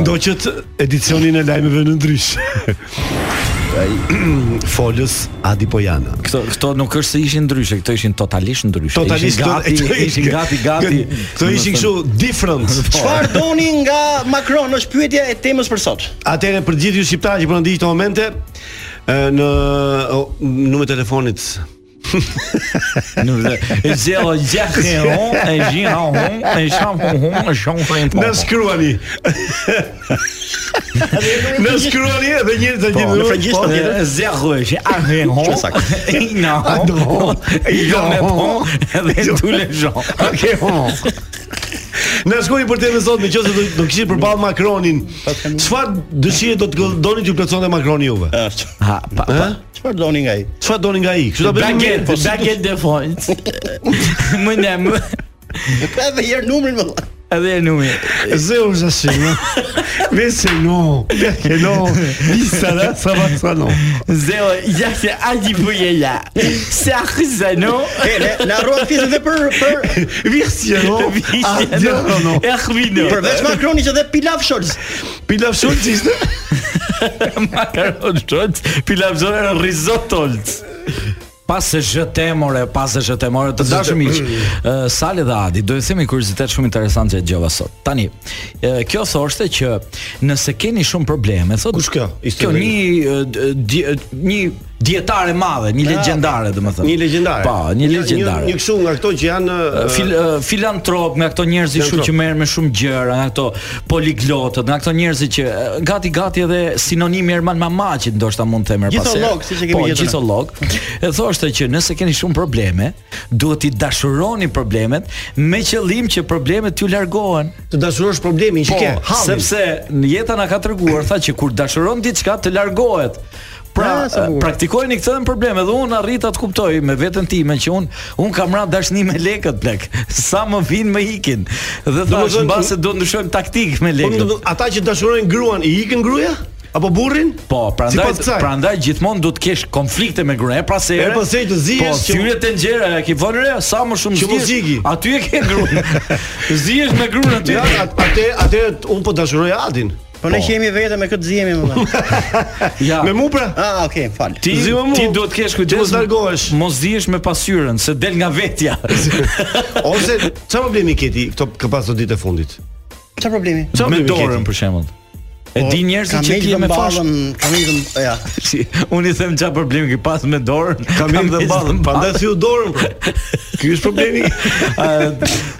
Speaker 8: Ndo që të edicionin e lajmeve në ndrysh. Folës Adi Pojana.
Speaker 9: Këto këto nuk është se ishin ndryshe, këto ishin totalisht ndryshe.
Speaker 8: Totalisht
Speaker 9: ishin gati,
Speaker 8: këto-
Speaker 9: ishin gati gati.
Speaker 8: Këto ishin kështu different.
Speaker 4: Çfarë doni nga Macron? Është pyetja e temës për sot.
Speaker 8: Atëherë për gjithë ju shqiptarë që po na ndiqni këto momente ë, në o, numër telefonit
Speaker 9: Nuk e e zelo gjatë on, e gjin on, e sham on, e sham
Speaker 8: na
Speaker 9: on.
Speaker 8: shkruani. Na shkruani edhe njëri të gjithë.
Speaker 4: në frangjisht
Speaker 8: Po,
Speaker 4: të tjetër.
Speaker 9: Euh, Zjahuesh, a he ho, ina ho,
Speaker 8: Ado ho,
Speaker 9: jo me
Speaker 8: jo
Speaker 9: po,
Speaker 8: ho,
Speaker 9: edhe
Speaker 8: jo.
Speaker 9: tu le zho.
Speaker 8: Okej, ho. Na shkruani për temën sot, nëse do do kishit përballë Macronin. Çfarë dëshire do të doni t'ju plotësonte Macroni juve?
Speaker 9: Ha, Ah, pa, pa.
Speaker 4: Çfarë doni nga ai?
Speaker 8: Çfarë doni nga ai? Kështu ta bëjmë
Speaker 9: Baguette,
Speaker 8: mirë, po si do-
Speaker 9: baguette de France. Më ne më,
Speaker 4: Ka edhe herë numrin më dha.
Speaker 9: edhe e numi.
Speaker 8: Zeu já chegou. Vê se não. Vê que não. Isso lá, ça va, ça não.
Speaker 9: Zero, ja se aji bujela. Sa khzano,
Speaker 4: E ne na rrot fjesën edhe për për
Speaker 8: Virsi, não. Ah, não.
Speaker 9: Ervino.
Speaker 4: përveç Macronit që edhe Pilaf Scholz.
Speaker 8: Pilaf Schulz ishte.
Speaker 9: Makaron shot, pilavzore risottolt. Pas e zhëtemore, pas e zhëtemore të dashëm iq
Speaker 8: Mm.
Speaker 9: ë, Sali dhe Adi, do të themi kuriozitet shumë interesant që e dëgjova sot Tani, ë, kjo thoshte që nëse keni shumë probleme thot,
Speaker 8: Kush kjo? Ishte
Speaker 9: Kjo
Speaker 8: drejt.
Speaker 9: një, ë, d- di- eh, një djetare madhe, një legjendare dhe më thënë
Speaker 8: Ah, Një legjendare.
Speaker 9: Pa, një legjendare
Speaker 8: Një kështu nga këto që janë
Speaker 9: Ë, fil, ë, filantrop nga këto njerëz që
Speaker 8: Filantrop.
Speaker 9: që merren me shumë gjëra, nga këto poliglotët, nga këto njerëz që ë, gati gati edhe sinonimi Erman Mamaqit ndoshta mund të merr pas.
Speaker 4: Gjitholog, siç e kemi
Speaker 9: Po,
Speaker 4: gjetur ne.
Speaker 9: gjitholog. E thoshte që nëse keni shumë probleme, duhet i dashuroni problemet me qëllim që problemet t'ju largohen.
Speaker 8: të dashurosh problemin që
Speaker 9: Po,
Speaker 8: ke.
Speaker 9: sepse në jeta na ka treguar tha që kur dashuron diçka të largohet. Pra,
Speaker 4: Ah, sa bukur.
Speaker 9: praktikojeni këtë në probleme dhe unë arrita të kuptoj me veten time që unë un kam ra dashni me lekët plak. Sa më vinë më ikin. Dhe thash
Speaker 8: thënë-
Speaker 9: mbase do ndryshojmë taktik me
Speaker 8: Po, do të
Speaker 9: lekët.
Speaker 8: thotë, ata që dashurojnë gruan i ikën gruaja apo burrin?
Speaker 9: Po, prandaj
Speaker 8: Sipas kësaj.
Speaker 9: prandaj gjithmonë do të kesh konflikte me gruën, pra se
Speaker 8: E, pas se të zihesh
Speaker 9: Po,
Speaker 8: që-
Speaker 9: syre të ngjera, e ke vënë re, sa më shumë
Speaker 8: Që mos
Speaker 9: zihesh,
Speaker 8: iki.
Speaker 9: Aty e ke gruën. zihesh me gruën aty.
Speaker 8: Ja, at- atë atë un po dashuroj Adin.
Speaker 4: Po ne që jemi vetëm me këtë zihemi më dha.
Speaker 9: Ja.
Speaker 8: Me mua pra?
Speaker 4: Ah, okay, fal.
Speaker 9: Ti
Speaker 8: Zi më mu.
Speaker 9: ti duhet të kesh
Speaker 8: Që
Speaker 9: kujdes.
Speaker 8: mos largohesh.
Speaker 9: Mos dihesh me pasyrën se del nga vetja.
Speaker 8: Ose çfarë problemi ke ti këto ka pas ditë e fundit?
Speaker 4: Çfarë problemi? Po,
Speaker 8: Çfarë
Speaker 9: me
Speaker 8: problemi ke
Speaker 9: dorën
Speaker 8: ti?
Speaker 9: për shembull. E di njerëzit
Speaker 4: Kam
Speaker 9: që ti
Speaker 4: heqë
Speaker 9: je me fash.
Speaker 4: dëmballën, kam heqë dëmb- ja.
Speaker 9: Si, unë i them çfarë problemi ke pas me dorën.
Speaker 8: Kam dhe
Speaker 9: heqë
Speaker 8: ballën, prandaj thiu dorën. pra. Ky është problemi.
Speaker 9: A,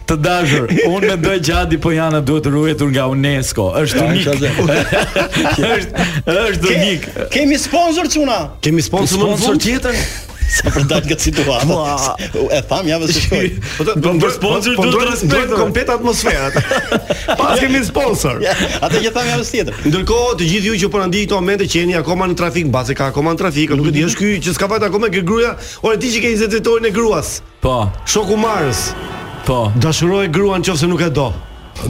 Speaker 9: të dashur, unë mendoj që Adi Pojana duhet ruetur nga UNESCO. Është unik. është është
Speaker 4: Ke-
Speaker 9: unik.
Speaker 4: Kemi sponsor çuna.
Speaker 8: Kemi sponsor më në
Speaker 9: Sponsor
Speaker 8: fund.
Speaker 9: tjetër?
Speaker 4: Sa për dal nga situata. E tham javës së shkoj.
Speaker 8: Po të-
Speaker 9: Po,
Speaker 8: po-
Speaker 9: për sponsor
Speaker 8: po- po-
Speaker 9: duhet
Speaker 8: duhet-
Speaker 9: respekt,
Speaker 8: duhet
Speaker 9: ore.
Speaker 8: komplet atmosferat. Pas kemi sponsor.
Speaker 4: Atë që tham javës tjetër.
Speaker 8: Ndërkohë të gjithë ju që po na ndiqni këto momente që jeni akoma në trafik, mbase ka akoma në trafik, nuk e di, është ky që s'ka vajt akoma ke gruaja, ore ti që ke 20 vjetorin e gruas.
Speaker 9: Po,
Speaker 8: Shoku Marës,
Speaker 9: po.
Speaker 8: dashuroje gruan nëse nuk e do.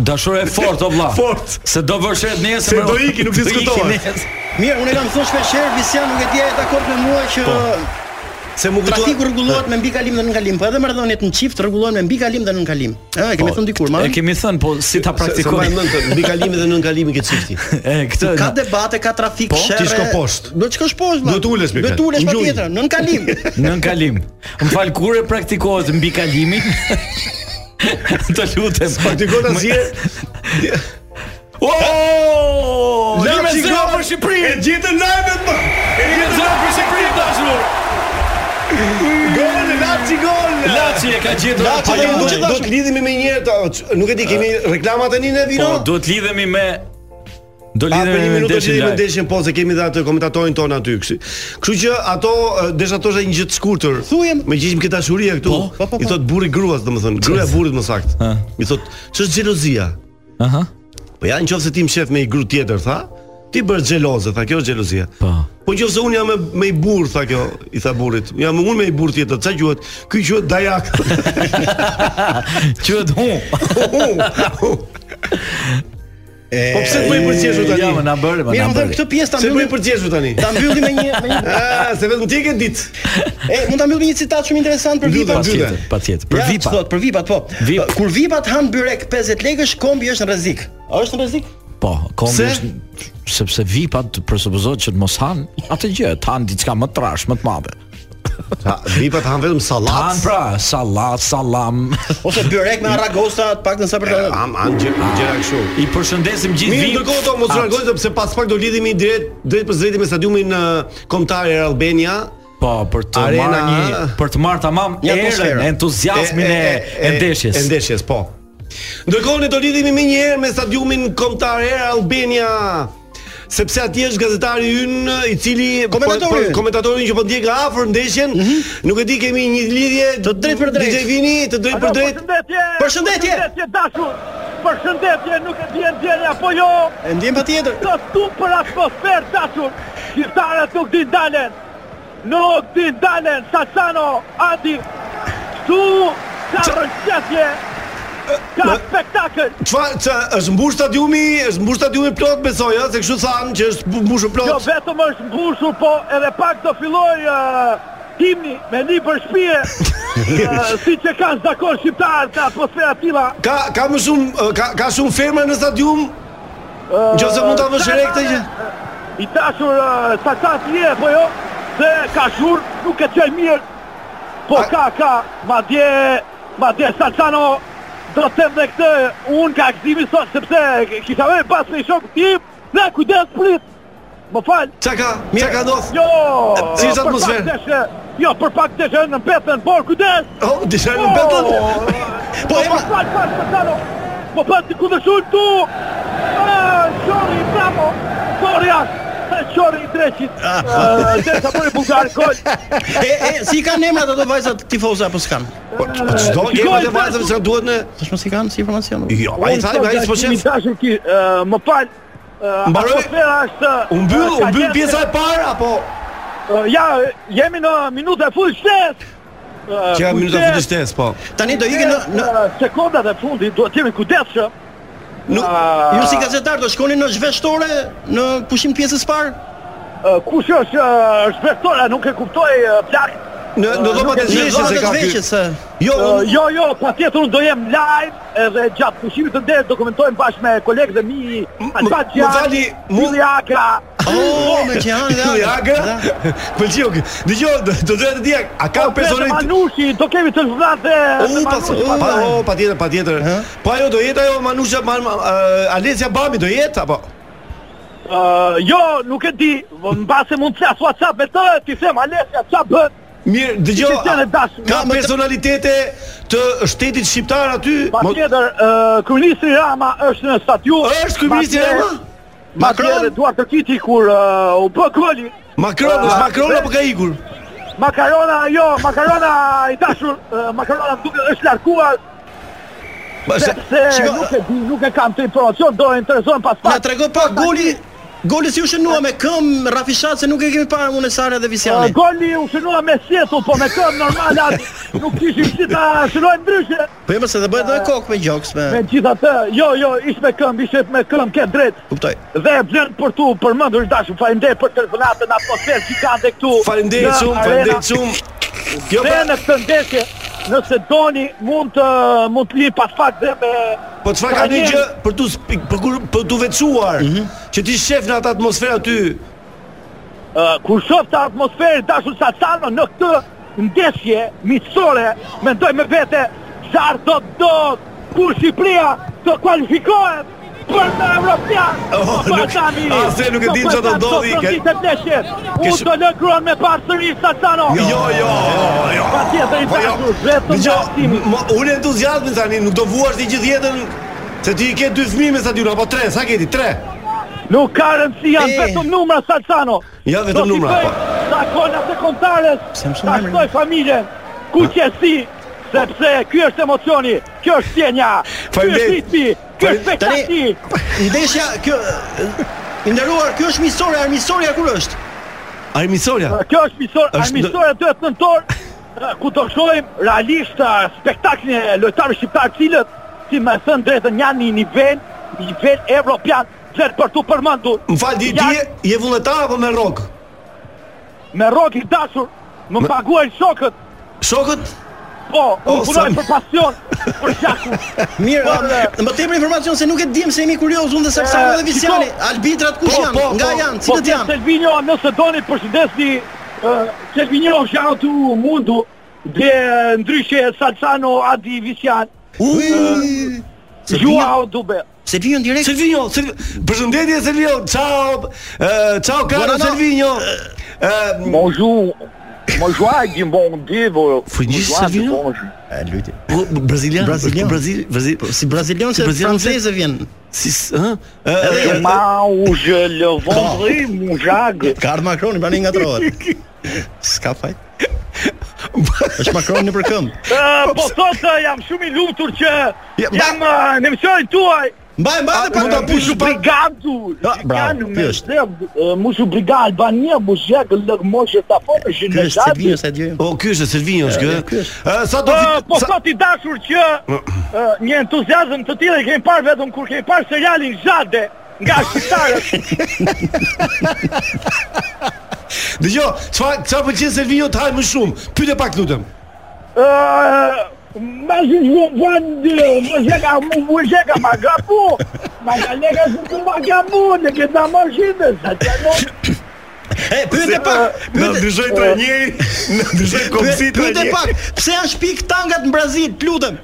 Speaker 9: Dashur e fort o vlla.
Speaker 8: Fort.
Speaker 9: Se do vërshet nesër.
Speaker 8: Se
Speaker 9: bro.
Speaker 8: do iki, nuk
Speaker 9: Do iki
Speaker 8: diskutohet.
Speaker 9: nesër.
Speaker 4: Mirë, unë e kam thënë shpesh herë, Visian nuk e di ai dakord me mua që
Speaker 8: Se mu
Speaker 10: Pra
Speaker 8: kujtohet.
Speaker 4: trafiku rregullohet me mbikalim dhe nën kalim, po edhe marrëdhëniet në çift rregullohen me mbikalim dhe nën kalim. Ëh, e kemi thënë dikur, ma.
Speaker 9: E kemi thënë, po si ta
Speaker 8: praktikoj
Speaker 9: praktikoj?
Speaker 8: mend të mbi kalimin dhe nën kalimin këtë çifti.
Speaker 9: E, këtë
Speaker 4: Ka
Speaker 9: na-
Speaker 4: debate, ka trafik,
Speaker 8: Po,
Speaker 4: shere.
Speaker 8: ti shko poshtë.
Speaker 4: Do të shkosh poshtë. vlla.
Speaker 8: Duhet ulesh, Mikael.
Speaker 4: Do të ulesh
Speaker 8: Në gjunjë.
Speaker 4: patjetër, nën kalim.
Speaker 9: Nën kalim. Më fal kur e praktikohet mbi kalimin? të lutem.
Speaker 8: Praktikohet asgjë.
Speaker 9: Oh! Një me
Speaker 8: Lapsi
Speaker 9: zero
Speaker 8: gol
Speaker 9: për Shqipërinë.
Speaker 8: E gjithën lajmet më. E
Speaker 9: Një me
Speaker 8: gjithën
Speaker 9: zero për Shqipërinë dashur.
Speaker 8: golin, Lapsi gol.
Speaker 9: Laçi e ka gjetur.
Speaker 8: Lapsi
Speaker 9: Pa,
Speaker 8: do
Speaker 9: jo,
Speaker 8: të do të lidhemi me një herë, ta- ç- nuk e di, kemi reklama tani në vino.
Speaker 9: Po, duhet lidhemi me Do
Speaker 8: A për një
Speaker 9: lidhemi me
Speaker 8: minutë do të
Speaker 9: deshin
Speaker 8: jemi
Speaker 9: lajm.
Speaker 8: ndeshjen po se kemi dhe atë komentatorin ton aty kështu. Kështu që ato e, desha tosha një gjë të shkurtër.
Speaker 4: Thujem.
Speaker 8: Me gjithë këtë dashuria këtu.
Speaker 4: Po, po, po,
Speaker 8: I
Speaker 4: po.
Speaker 8: thot burri gruas domethënë, gruaja burrit më saktë. I thot, "Ç'është xhelozia?"
Speaker 9: Aha.
Speaker 8: Po ja, nëse ti më shef me një gru tjetër, tha. Ti bësh xheloze, tha kjo është xhelozia.
Speaker 9: Po.
Speaker 8: Po nëse un jam me, me i burr, tha kjo, i tha burrit. Jam un me i burr tjetër, ç'a quhet? Ky quhet dajak.
Speaker 9: Quhet hu.
Speaker 8: Po pse të bëj përgjeshur tani?
Speaker 9: Ja, më na bëre, më
Speaker 10: Mirë,
Speaker 9: na
Speaker 10: më thënë
Speaker 9: bëre.
Speaker 10: këtë pjesë ta
Speaker 8: Se bëj
Speaker 10: mbyllim
Speaker 8: përgjeshur tani.
Speaker 10: ta mbyllim me një me një
Speaker 8: Ah, se vetëm ti e ke ditë.
Speaker 10: e mund ta mbyllim me një citat shumë interesant për
Speaker 8: Mbyll,
Speaker 10: vipat.
Speaker 9: Patjetër, patjetër. Për
Speaker 10: Ja,
Speaker 9: vipa.
Speaker 10: thot, për vipat po.
Speaker 9: Vip.
Speaker 10: Kur vipat han byrek 50 lekësh, kombi është në rrezik. A është në rrezik?
Speaker 9: Po, kombi
Speaker 8: Pse?
Speaker 9: është sepse vipat presupozohet që të mos han atë gjë, të han diçka më trash, më të madhe.
Speaker 8: Ta vipat han vetëm
Speaker 9: Të han
Speaker 8: sallac.
Speaker 9: pra sallat, sallam.
Speaker 10: Ose byrek me aragosta, të paktën sa për ta.
Speaker 8: Han han gjë- gjëra kështu.
Speaker 9: I përshëndesim gjithë
Speaker 8: Mirë,
Speaker 9: vip.
Speaker 8: ndërkohë to mos u largoj sepse pas pak do lidhemi drejt drejt për drejtë me stadiumin uh, kombëtar Air Albania.
Speaker 9: Po, për të
Speaker 8: Arena-
Speaker 9: marrë një për të marrë tamam
Speaker 10: Një
Speaker 9: erën,
Speaker 10: atmosferë.
Speaker 9: entuziazmin e e ndeshjes.
Speaker 8: E ndeshjes, po. Ndërkohë ne do lidhemi më një herë me stadiumin kombëtar Air Albania. Sepse atje është gazetari ynë i cili
Speaker 10: Komentatori
Speaker 8: po- po-
Speaker 10: ynë.
Speaker 8: komentatorin që po ndjek nga afër ndeshjen, nuk e di kemi një lidhje
Speaker 10: Të drejtë për drejtë.
Speaker 8: DJ Vini, të drejtë për drejtë.
Speaker 11: po,
Speaker 10: Përshëndetje!
Speaker 11: Përshëndetje dashur! Përshëndetje, nuk e vjen djeni apo jo?
Speaker 10: E ndjen patjetër.
Speaker 11: Të super atmosferë dashur! Shqiptarët nuk din dalen! Nuk din dalen! Sasano, Adi! Tu, ka përshëndetje! Ka
Speaker 8: Ma-
Speaker 11: spektakël!
Speaker 8: Çfarë ç'a- është mbush stadiumi, është mbush stadiumi plot besoj, ëh, se kështu thanë që është bu- mbushur
Speaker 11: Jo
Speaker 8: plot.
Speaker 11: vetëm është mbushur, po edhe pak do filloj uh, himni me një për shpije, uh, si që kanë zdakon shqiptarë të atmosfera tila.
Speaker 8: Ka ka më shumë ë, ka ka shumë femra në stadium. Nëse mund ta vësh re këtë gjë.
Speaker 11: I dashur uh, sa sa ti je po jo se ka shur nuk e çoj mirë. Po
Speaker 8: A-
Speaker 11: ka ka madje madje Salcano do të them dhe këtë un ka gëzimi sot sepse kisha vënë pas me shok tim dhe kujdes prit. Më fal.
Speaker 8: Çka ka? Çka ka ndodh?
Speaker 11: Jo.
Speaker 8: Si është
Speaker 11: për pak
Speaker 8: atmosferë?
Speaker 11: deshe, Jo, për pak të shënë në petën, por kujdes.
Speaker 8: Oh, disha në betën.
Speaker 11: Po, po, fal, fal, Salcano. Po pas të kundërshun tu. Ah, sorry, bravo. Sorry, as. Qori i treqit
Speaker 8: Ah.
Speaker 11: po Ë, Dhe të përë Bulgarë gol
Speaker 10: E e si kanë emrat ato vajzat tifoza apo s'kan?
Speaker 8: Po po, çdo
Speaker 11: Shikoj,
Speaker 8: gjë vetë vajzave
Speaker 11: Sasu.
Speaker 8: që duhet në
Speaker 10: Tash mos i kanë si informacion.
Speaker 8: Jo, ai tha, ai s'po shef.
Speaker 11: Dashur ki, ë, më fal. ë,
Speaker 8: Mbaroj.
Speaker 11: Atmosfera është
Speaker 8: U mbyll,
Speaker 11: ë,
Speaker 8: u mbyll
Speaker 11: ka
Speaker 8: pjesa
Speaker 11: qenë-
Speaker 8: e parë apo
Speaker 11: ë, Ja, jemi në minuta e fundit shtes.
Speaker 8: që ka minuta fundishtes, po.
Speaker 10: Tani do ikin në në
Speaker 11: sekondat e fundit duhet të jemi kujdesshëm.
Speaker 10: nuk
Speaker 11: Ah.
Speaker 10: ju si gazetar do shkoni në zhveshtore në pushim të pjesës parë?
Speaker 11: Ë, Kush është ë, është vektora, nuk e kuptoj ë, plak.
Speaker 8: Në në dhomat e
Speaker 10: Në
Speaker 8: zeshës
Speaker 10: zonat
Speaker 8: e
Speaker 10: e
Speaker 8: ka ky.
Speaker 10: zhveshjes. se-
Speaker 8: Jo,
Speaker 11: Ë,
Speaker 8: unë-
Speaker 11: Jo, jo, patjetër unë do jem live edhe gjatë pushimit të nderit do komentojmë bashkë me kolegët e mi
Speaker 8: më-
Speaker 11: Albat
Speaker 8: më fali,
Speaker 11: Gjani,
Speaker 8: mu-
Speaker 11: Vili Akra.
Speaker 10: Oh, me Gjihan dhe
Speaker 8: Ky Aga. Po,
Speaker 10: Da.
Speaker 8: Pëlqeu ky. Dëgjoj, do do doja të dia, a ka
Speaker 11: Personit...
Speaker 8: personit
Speaker 11: Manushi, do kemi të zhvrat dhe...
Speaker 8: U pa pa pa o, patjetër patjetër. Po ajo do jetë ajo Manusha Ma- Ma- ë, Alesja Babi do jetë apo?
Speaker 11: Uh, jo, nuk e di, në base mund të flas WhatsApp me të, ti them Alesja, ç'a bën?
Speaker 8: Mirë, dëgjoj.
Speaker 11: Kristian e dashur.
Speaker 8: Ka
Speaker 11: Nga, më të-
Speaker 8: personalitete të shtetit shqiptar aty? Mo-
Speaker 11: Patjetër, uh, kryeministri Rama është në stadium.
Speaker 8: Është kryeministri
Speaker 11: Madje-
Speaker 8: Rama?
Speaker 11: Madje
Speaker 8: Macron?
Speaker 11: edhe Duart Tokiti kur uh, u bë goli.
Speaker 8: Macron,
Speaker 11: Ah,
Speaker 8: është Macron
Speaker 11: dhe-
Speaker 8: apo ka ikur?
Speaker 11: Makarona, jo, makarona i dashur, uh, makarona më duket është larguar
Speaker 8: Ba, se-
Speaker 11: sepse
Speaker 10: shiko-
Speaker 11: nuk e di, nuk e kam të informacion, do e intereson pas
Speaker 10: Na
Speaker 11: pak.
Speaker 10: trego pak goli Goli si u shënua me këmbë Rafishat se nuk e kemi parë unë Sara dhe
Speaker 11: Uh,
Speaker 10: Visiani.
Speaker 11: goli u shënua me sjetull, po me këmbë normal atë nuk kishim si ta shënojmë ndryshe.
Speaker 10: Po e mëse dhe bëhet edhe kokë me gjoks me.
Speaker 11: Me gjitha të, jo, jo, ish me këmbë, ish me këmbë, ke drejt.
Speaker 10: Kuptoj.
Speaker 11: Dhe e vlen për tu përmendur dashur, faleminderit për telefonatën, atmosferë që ka dhe këtu.
Speaker 8: Faleminderit
Speaker 11: në
Speaker 8: shumë,
Speaker 11: arena.
Speaker 8: faleminderit shumë. Kjo
Speaker 11: Dhe
Speaker 8: pra,
Speaker 11: në këtë ndeshje, nëse doni mund të mund të lini pas fakt dhe me
Speaker 8: po çfarë ka një gjë për tu spik- për kur për tu veçuar, që ti shef në atë atmosferë aty.
Speaker 11: Ë, kur shoh ta atmosferë dashur Sacano në këtë ndeshje miqësore, mendoj me vete çfarë do të do kur Shqipëria të kualifikohet për në Evropian.
Speaker 8: Oh,
Speaker 11: Po,
Speaker 8: nuk-
Speaker 11: Bajrami,
Speaker 8: asë nuk e di
Speaker 11: po,
Speaker 8: çfarë do
Speaker 11: Bajram,
Speaker 8: ndodhi,
Speaker 11: po,
Speaker 8: ke-
Speaker 11: frontit e ndeshjes. Unë
Speaker 8: Kish-
Speaker 11: do lë gruan me parsëri Sacano.
Speaker 8: Jo, jo, jo.
Speaker 11: Patjetër i
Speaker 8: Po jo.
Speaker 11: dashur, vetëm
Speaker 8: Dgjoj,
Speaker 11: dashimi.
Speaker 8: mo- unë entuziazmin tani, nuk do vuash ti gjithë jetën se ti ke dy fëmijë me stadion apo tre, sa keti? Tre.
Speaker 11: Nuk ka rëndësi janë
Speaker 10: E.
Speaker 8: Eh.
Speaker 11: vetëm numra Salsano.
Speaker 8: Ja, vetëm numra, po.
Speaker 11: Sa konat e kontarës,
Speaker 10: Pse më shumë
Speaker 11: ta
Speaker 10: emrin?
Speaker 11: shtoj familjen, ku qesi, sepse ky është emocioni, kjo është sjenja, ky është
Speaker 8: Faleminderit.
Speaker 11: ritmi, ky është
Speaker 8: Faleminderit.
Speaker 10: Tani
Speaker 11: spektati.
Speaker 10: ndeshja kjo I nderuar, kjo është miqësoria, armiqësoria kur është?
Speaker 8: Armiqësoria.
Speaker 11: Kjo është miqësor, armiqësoria duhet në nëntor eh, ku do shohim realisht eh, spektaklin e lojtarëve shqiptar të cilët si më thën drejtën janë në një nivel, një nivel evropian, çer për tu përmendur.
Speaker 8: Më fal di ti je- je vullnetar apo me rrok?
Speaker 11: Me rrok i dashur, më paguajnë shokët.
Speaker 8: Shokët?
Speaker 11: Po,
Speaker 10: Oh,
Speaker 11: unë punoj
Speaker 10: Sami.
Speaker 11: për pasion, për gjakun.
Speaker 10: Mirë,
Speaker 11: Po,
Speaker 10: a, më tepër informacion se nuk e dim se jemi kurioz unë dhe Sapsano
Speaker 11: Eh,
Speaker 10: dhe Visiani.
Speaker 11: shiko.
Speaker 10: Arbitrat kush
Speaker 11: Po,
Speaker 10: janë?
Speaker 11: po,
Speaker 10: Nga
Speaker 11: po,
Speaker 10: janë?
Speaker 11: po,
Speaker 10: Cilët
Speaker 11: po,
Speaker 10: janë?
Speaker 11: Selvinjo, nëse doni përshëndesni uh, Selvinjo shau tu mundu dhe eh, ndryshe Salsano Adi Visian.
Speaker 8: Ui!
Speaker 11: Juau Dube.
Speaker 10: Selvinjo direkt.
Speaker 8: Selvinjo, Selvi- përshëndetje Selvinjo. Ciao. eh, ciao caro
Speaker 11: Buonanotte.
Speaker 8: Selvinjo.
Speaker 10: Eh,
Speaker 11: Bonjour. Bonjour, di bon divo.
Speaker 8: Fëngjë Selvinjo.
Speaker 10: Luti.
Speaker 8: Po, Brazilian,
Speaker 10: Brazilian.
Speaker 8: Brazil, Brazil,
Speaker 10: Po, Si brazilian se franceze vjen.
Speaker 8: Si, ë?
Speaker 10: Edhe- jo,
Speaker 11: Mau je le vendredi mon
Speaker 8: po.
Speaker 11: jag.
Speaker 10: Ka ardhur Macroni tani ngatrohet. S'ka faj. Është Macroni nëpër këmbë.
Speaker 11: Po sot eh, jam shumë i lumtur që
Speaker 10: Ja, ba-
Speaker 11: jam eh, në mësionin tuaj.
Speaker 10: Mbaj, mbaj
Speaker 8: A,
Speaker 10: dhe pak.
Speaker 8: mund ta push
Speaker 11: Musu
Speaker 8: pak.
Speaker 11: brigadu.
Speaker 10: Ah, bravo, ky është.
Speaker 11: Musu brigad Albania, Buzhak, lëk moshë ta fonë që
Speaker 10: Ky
Speaker 11: në
Speaker 10: është
Speaker 11: gati.
Speaker 10: Selvinjo sa djem.
Speaker 8: O, ky është Selvinjo, është
Speaker 10: Ja,
Speaker 8: ky.
Speaker 10: ky është.
Speaker 8: Ë, sa do
Speaker 11: Po,
Speaker 8: fit-
Speaker 11: po
Speaker 8: sa-
Speaker 11: sot i dashur që ë, një entuziazëm të tillë e kemi parë vetëm kur kemi parë serialin Zhade nga shqiptarët.
Speaker 8: Dëgjoj, çfarë çfarë pëlqen Selvinjo të haj më shumë? Pyete pak lutem.
Speaker 11: Ë Ma që ju vëndë, më sheka, më më sheka, ma gapu, ma ka lega se të ma gapu, në këta ma shite, sa të në...
Speaker 10: E, pyete pak.
Speaker 8: Na dyshoj trajneri, na dyshoj komsi
Speaker 10: Pyete pak, pse janë shpik tangat në Brazil, lutem?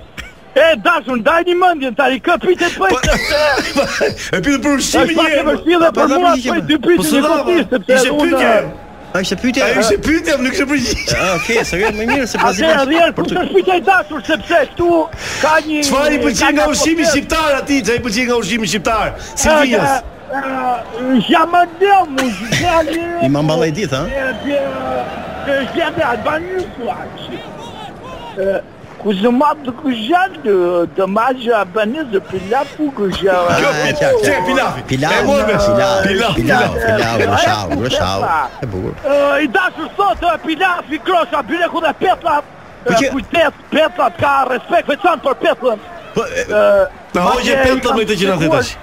Speaker 11: E, dashur, ndaj një mëndjen, tari, kë pyte të pëjtë,
Speaker 8: E pyet për
Speaker 11: është
Speaker 8: ushqimin
Speaker 11: pak e
Speaker 8: një.
Speaker 11: vështirë për mua të
Speaker 10: përgjigje,
Speaker 11: pëjtë dy
Speaker 8: Po
Speaker 11: pyte
Speaker 8: së
Speaker 11: një
Speaker 8: dha,
Speaker 11: kotisë, sepse
Speaker 8: ishte
Speaker 11: unë...
Speaker 10: eh,
Speaker 8: pyetje.
Speaker 10: Ai ishte pyetja.
Speaker 8: Ai ishte pyetje, më nuk ishte përgjigje.
Speaker 10: Ah, Okej, sa vjen më mirë se Brazili.
Speaker 11: Atëherë rrjerë, ku të shpita i dashur, sepse këtu ka një...
Speaker 8: Çfarë i pëlqen
Speaker 11: ka
Speaker 8: nga
Speaker 11: një
Speaker 8: ushqimi
Speaker 11: atmosferë.
Speaker 8: shqiptar atij? Çfarë i pëlqen nga ushqimi shqiptar? Silvias.
Speaker 11: Silvias. Jamais demu, jamais.
Speaker 10: I ma mballaj ditë,
Speaker 11: Eh
Speaker 10: ha?
Speaker 11: euh, Jamais albanu quoi. Euh, Kuzuma de Kujan de de Maja Albanese depuis là pour que j'ai.
Speaker 8: Kjo
Speaker 10: Ah,
Speaker 8: pit-
Speaker 10: qartë,
Speaker 8: çe,
Speaker 10: qartë.
Speaker 8: pilafi. E
Speaker 10: Pilav,
Speaker 8: morve.
Speaker 10: pilav, pilav,
Speaker 8: Pilav,
Speaker 10: pilav, pilav, pilav, E bukur.
Speaker 11: I dashur sot eh, Pilaf i krosha byreku dhe petlat.
Speaker 10: Po që-
Speaker 11: eh, Kujdes, petlat ka respekt veçantë për petlën.
Speaker 8: Po, e, Na
Speaker 11: Ma
Speaker 8: hoqe
Speaker 11: që i
Speaker 8: petllat
Speaker 11: kam
Speaker 8: me këtë që na Po- the
Speaker 11: shpjeguar-
Speaker 8: tash.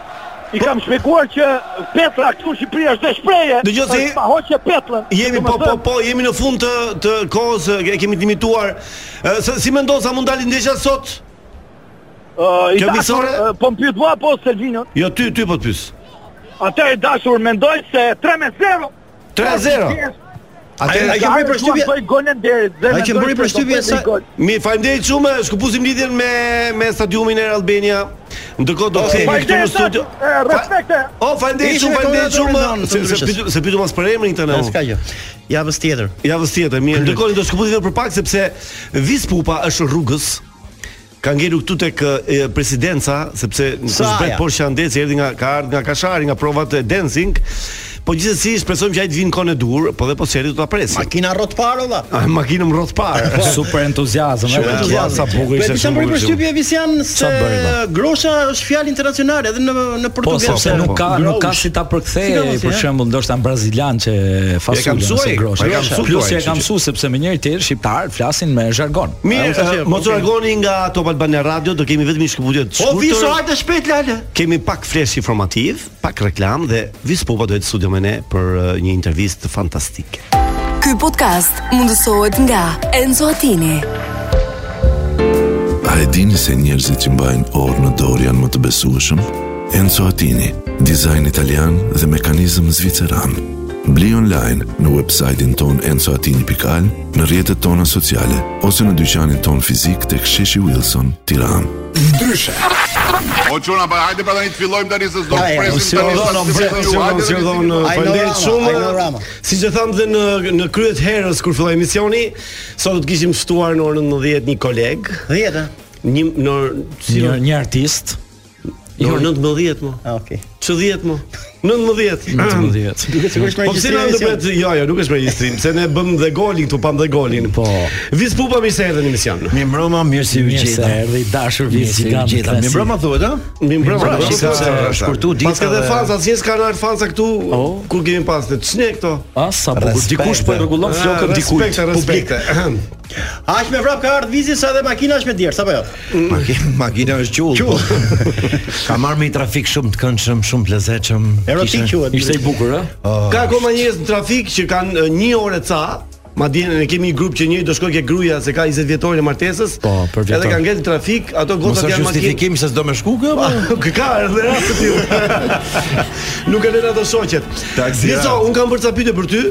Speaker 11: I kam shpjeguar që Petra këtu në Shqipëri është dhe shpreje. po
Speaker 8: Dëgjoj se-
Speaker 11: është Pa hoqe Petrën.
Speaker 8: Jemi po po po jemi në fund të të kohës, e kemi të limituar. Ë, se- Si mendon sa mund dalin ndeshja sot?
Speaker 11: Kjo
Speaker 8: Kjo miqësore-
Speaker 11: Po më pyet vlla po Selvino.
Speaker 8: Jo ty ty po të pyes.
Speaker 11: Atë e dashur mendoj se 3-0.
Speaker 8: 3-0.
Speaker 10: Ai- ai
Speaker 8: Atë
Speaker 10: ke bërë përshtypje-
Speaker 11: Ai golën deri. dhe
Speaker 10: Ai ke
Speaker 11: mendoj
Speaker 10: bërë
Speaker 11: se
Speaker 10: përshtypje
Speaker 11: do bëj
Speaker 10: sa-
Speaker 11: gol.
Speaker 8: Mi faleminderit shumë, shkëpusim lidhjen me me stadiumin e Real Albania. Ndërkohë do të
Speaker 10: Okej.
Speaker 8: kthehemi këtu në
Speaker 11: Oh, Faleminderit,
Speaker 8: studio.
Speaker 11: e, respekte.
Speaker 8: Fa- O, faleminderit
Speaker 10: Ishim
Speaker 8: shumë,
Speaker 10: me
Speaker 8: faleminderit shumë.
Speaker 10: komentatorën tonë,
Speaker 8: Se se
Speaker 10: të ndryshës.
Speaker 8: pyetëm se pyetëm as për emrin tani.
Speaker 10: Po, S'ka gjë. Javës tjetër.
Speaker 8: Javës tjetër, mirë. Ndërkohë do shkëputim edhe për pak sepse Vis Pupa është rrugës. Ka ngelur këtu tek e, presidenca sepse në po
Speaker 10: Saja.
Speaker 8: Kuzbet por Shandet se erdhi nga ka ardhur nga Kashari nga provat e dancing. Po gjithsesi shpresojmë që ai të vinë kohën e dur, po dhe po seri do ta presim.
Speaker 10: Makina rrot paro valla.
Speaker 8: A makinëm rroth parë.
Speaker 9: Super entuziazëm, e.
Speaker 8: Shumë
Speaker 9: valla.
Speaker 8: entuziazëm. sa bukur ishte,
Speaker 10: ishte.
Speaker 8: shumë
Speaker 10: Po për
Speaker 8: bukur ishte.
Speaker 10: përshtypje Visian se
Speaker 9: Sa bëri, ba?
Speaker 10: grosha është fjalë internacionale edhe në në
Speaker 9: Po
Speaker 10: portugez.
Speaker 9: sepse
Speaker 10: se-
Speaker 9: nuk ka nuk ka
Speaker 10: Grosh.
Speaker 9: si ta
Speaker 10: Si ka
Speaker 9: përkthej
Speaker 10: mos,
Speaker 9: për
Speaker 10: ja?
Speaker 9: shembull ndoshta në brazilian që
Speaker 8: Ja kam
Speaker 9: fasulën
Speaker 8: mësuar,
Speaker 9: ose grosha.
Speaker 8: ja kam mësuar,
Speaker 9: Plus ja
Speaker 8: kështu
Speaker 9: kam
Speaker 8: që-
Speaker 9: mësuar sepse me njëri tjetër shqiptar flasin me zhargon.
Speaker 8: Mirë,
Speaker 10: Mirë,
Speaker 8: eh, mos u largoni nga Top Albania Radio, do kemi vetëm një shkëputje të
Speaker 10: Po viso
Speaker 8: shkurtër.
Speaker 10: hajde shpejt lale.
Speaker 8: Kemi pak flesh informativ, pak reklam dhe Vis Pupa do jetë në studio me ne për eh, një intervistë fantastike.
Speaker 12: Ky podcast mundësohet nga Enzo Attini.
Speaker 2: A e dini se njerëzit që mbajnë orë në dorë janë më të besueshëm? Enzo Attini, dizajn italian dhe mekanizëm zviceran. Bli online në website-in ton enzoatini.al, në rjetët tona sociale, ose në dyqanin ton fizik të ksheshi Wilson, tiran.
Speaker 7: O çuna, pa hajde pra tani të fillojmë tani se s'do
Speaker 10: Ai,
Speaker 7: të
Speaker 8: Po, Si
Speaker 7: presim
Speaker 8: u
Speaker 7: tani.
Speaker 8: dhon,
Speaker 7: s'do të
Speaker 8: ombre,
Speaker 7: presim,
Speaker 8: si u dhon,
Speaker 7: hajde
Speaker 8: si u
Speaker 7: tani,
Speaker 8: dhon.
Speaker 7: fillojmë.
Speaker 10: Ai në
Speaker 8: Faleminderit
Speaker 10: Rama,
Speaker 8: shumë.
Speaker 10: ai në Rama.
Speaker 8: Siç e thamë dhe në në kryet herës kur filloi emisioni, sot do të kishim ftuar në orën 19 një koleg,
Speaker 10: 10 a?
Speaker 8: një në orë- si jo,
Speaker 9: Një
Speaker 8: në
Speaker 9: një artist.
Speaker 8: në orën 19 më.
Speaker 10: Ah, Okej.
Speaker 8: Që 10 më. 19.
Speaker 9: 19.
Speaker 10: Duket sigurisht me
Speaker 8: Po pse na
Speaker 10: regjistrim.
Speaker 8: ndërpret? Jo, jo, nuk është me regjistrim, se ne bëm dhe golin këtu, pam dhe golin. Po. Viz Pupa mi se erdhi në emision.
Speaker 9: Mi mbroma, mirë si u
Speaker 5: Mirë se
Speaker 9: gjeta.
Speaker 5: erdhi dashur
Speaker 9: Mirë si u
Speaker 5: vizitant.
Speaker 9: gjeta. Mi mbroma thuhet, a?
Speaker 8: Mi mbrëmë,
Speaker 9: mbrëmë,
Speaker 8: do
Speaker 9: shiko se
Speaker 8: të
Speaker 9: shkurtu dita
Speaker 8: Pas ka dhe
Speaker 9: dhe-
Speaker 8: fansa, asnjë s'ka ardhur fansa këtu
Speaker 9: Oh.
Speaker 8: kur kemi pas ne. Ç'ne këto?
Speaker 9: A sa bukur
Speaker 10: Respekt,
Speaker 9: dikush po e rregullon
Speaker 8: Ah,
Speaker 9: flokët dikujt.
Speaker 8: Respekte, respekte. Ahem.
Speaker 10: Aq me vrap ka ardh vizi sa edhe makina është me djerë, sapo jo.
Speaker 4: Makina, makina është qull. Qull. Ka marrë me një trafik shumë të këndshëm, shumë të lezetshëm.
Speaker 10: Erotik
Speaker 4: Kishte-
Speaker 10: quhet.
Speaker 9: Ishte i bukur, ë?
Speaker 8: Ka akoma njerëz në trafik që kanë e, një orë ca, madje ne kemi një grup që njëri do shkojë ke gruaja se ka 20 vjetorin e martesës.
Speaker 9: Po, për vjetor.
Speaker 8: Edhe kanë ngel në trafik, ato
Speaker 4: Mos
Speaker 8: gocat
Speaker 4: është
Speaker 8: janë makinë.
Speaker 4: justifikim se s'do me shku kë, po.
Speaker 8: Kë ka edhe rastë ti. Nuk e lënë ato shoqet.
Speaker 4: Taksi,
Speaker 8: Disa,
Speaker 4: ra.
Speaker 8: un kam bërë ca pyetje për ty.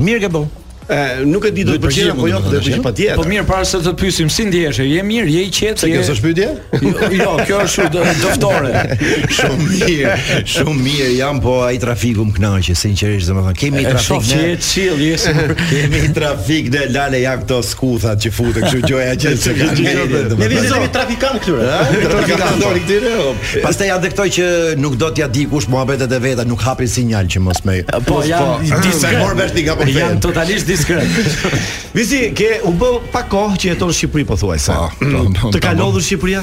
Speaker 4: Mirë ke bën.
Speaker 8: E, nuk e di do
Speaker 4: Duhet
Speaker 8: të përgjigjem,
Speaker 4: përgjigjem,
Speaker 8: po jo,
Speaker 4: do të
Speaker 8: do
Speaker 4: thosh,
Speaker 8: të përgjigjem
Speaker 4: jo?
Speaker 9: Po
Speaker 8: patjetër.
Speaker 9: mirë, para se të pyesim, si ndjeheshe? Je mirë, je i qetë?
Speaker 4: Se
Speaker 9: je-
Speaker 4: kjo është pyetje?
Speaker 9: Jo, kjo është do- dëftore.
Speaker 4: Shumë mirë, shumë mirë jam, po ai trafiku më kënaqë, sinqerisht domethënë. Kemi
Speaker 9: E shoh
Speaker 4: trafik
Speaker 9: që je chill, je super.
Speaker 4: Kemi trafik në lale ja këto skuthat që futen, kështu gjoja që se kanë ngritur.
Speaker 10: Ne vizi jemi trafikant këtyre.
Speaker 4: Trafikan dori këtyre. jo. o. Pastaj janë dhe këto që nuk do t'ja di kush muhabetet e veta, nuk hapin sinjal që mos me.
Speaker 9: Po janë
Speaker 4: disa
Speaker 9: diskret.
Speaker 4: morë vesh ti nga po
Speaker 9: Janë totalisht diskret.
Speaker 8: Visi, ke u bë pa kohë që jeton në Shqipëri pothuajse.
Speaker 4: Po, po, po,
Speaker 8: Të ka
Speaker 4: po.
Speaker 8: lodhur Shqipëria?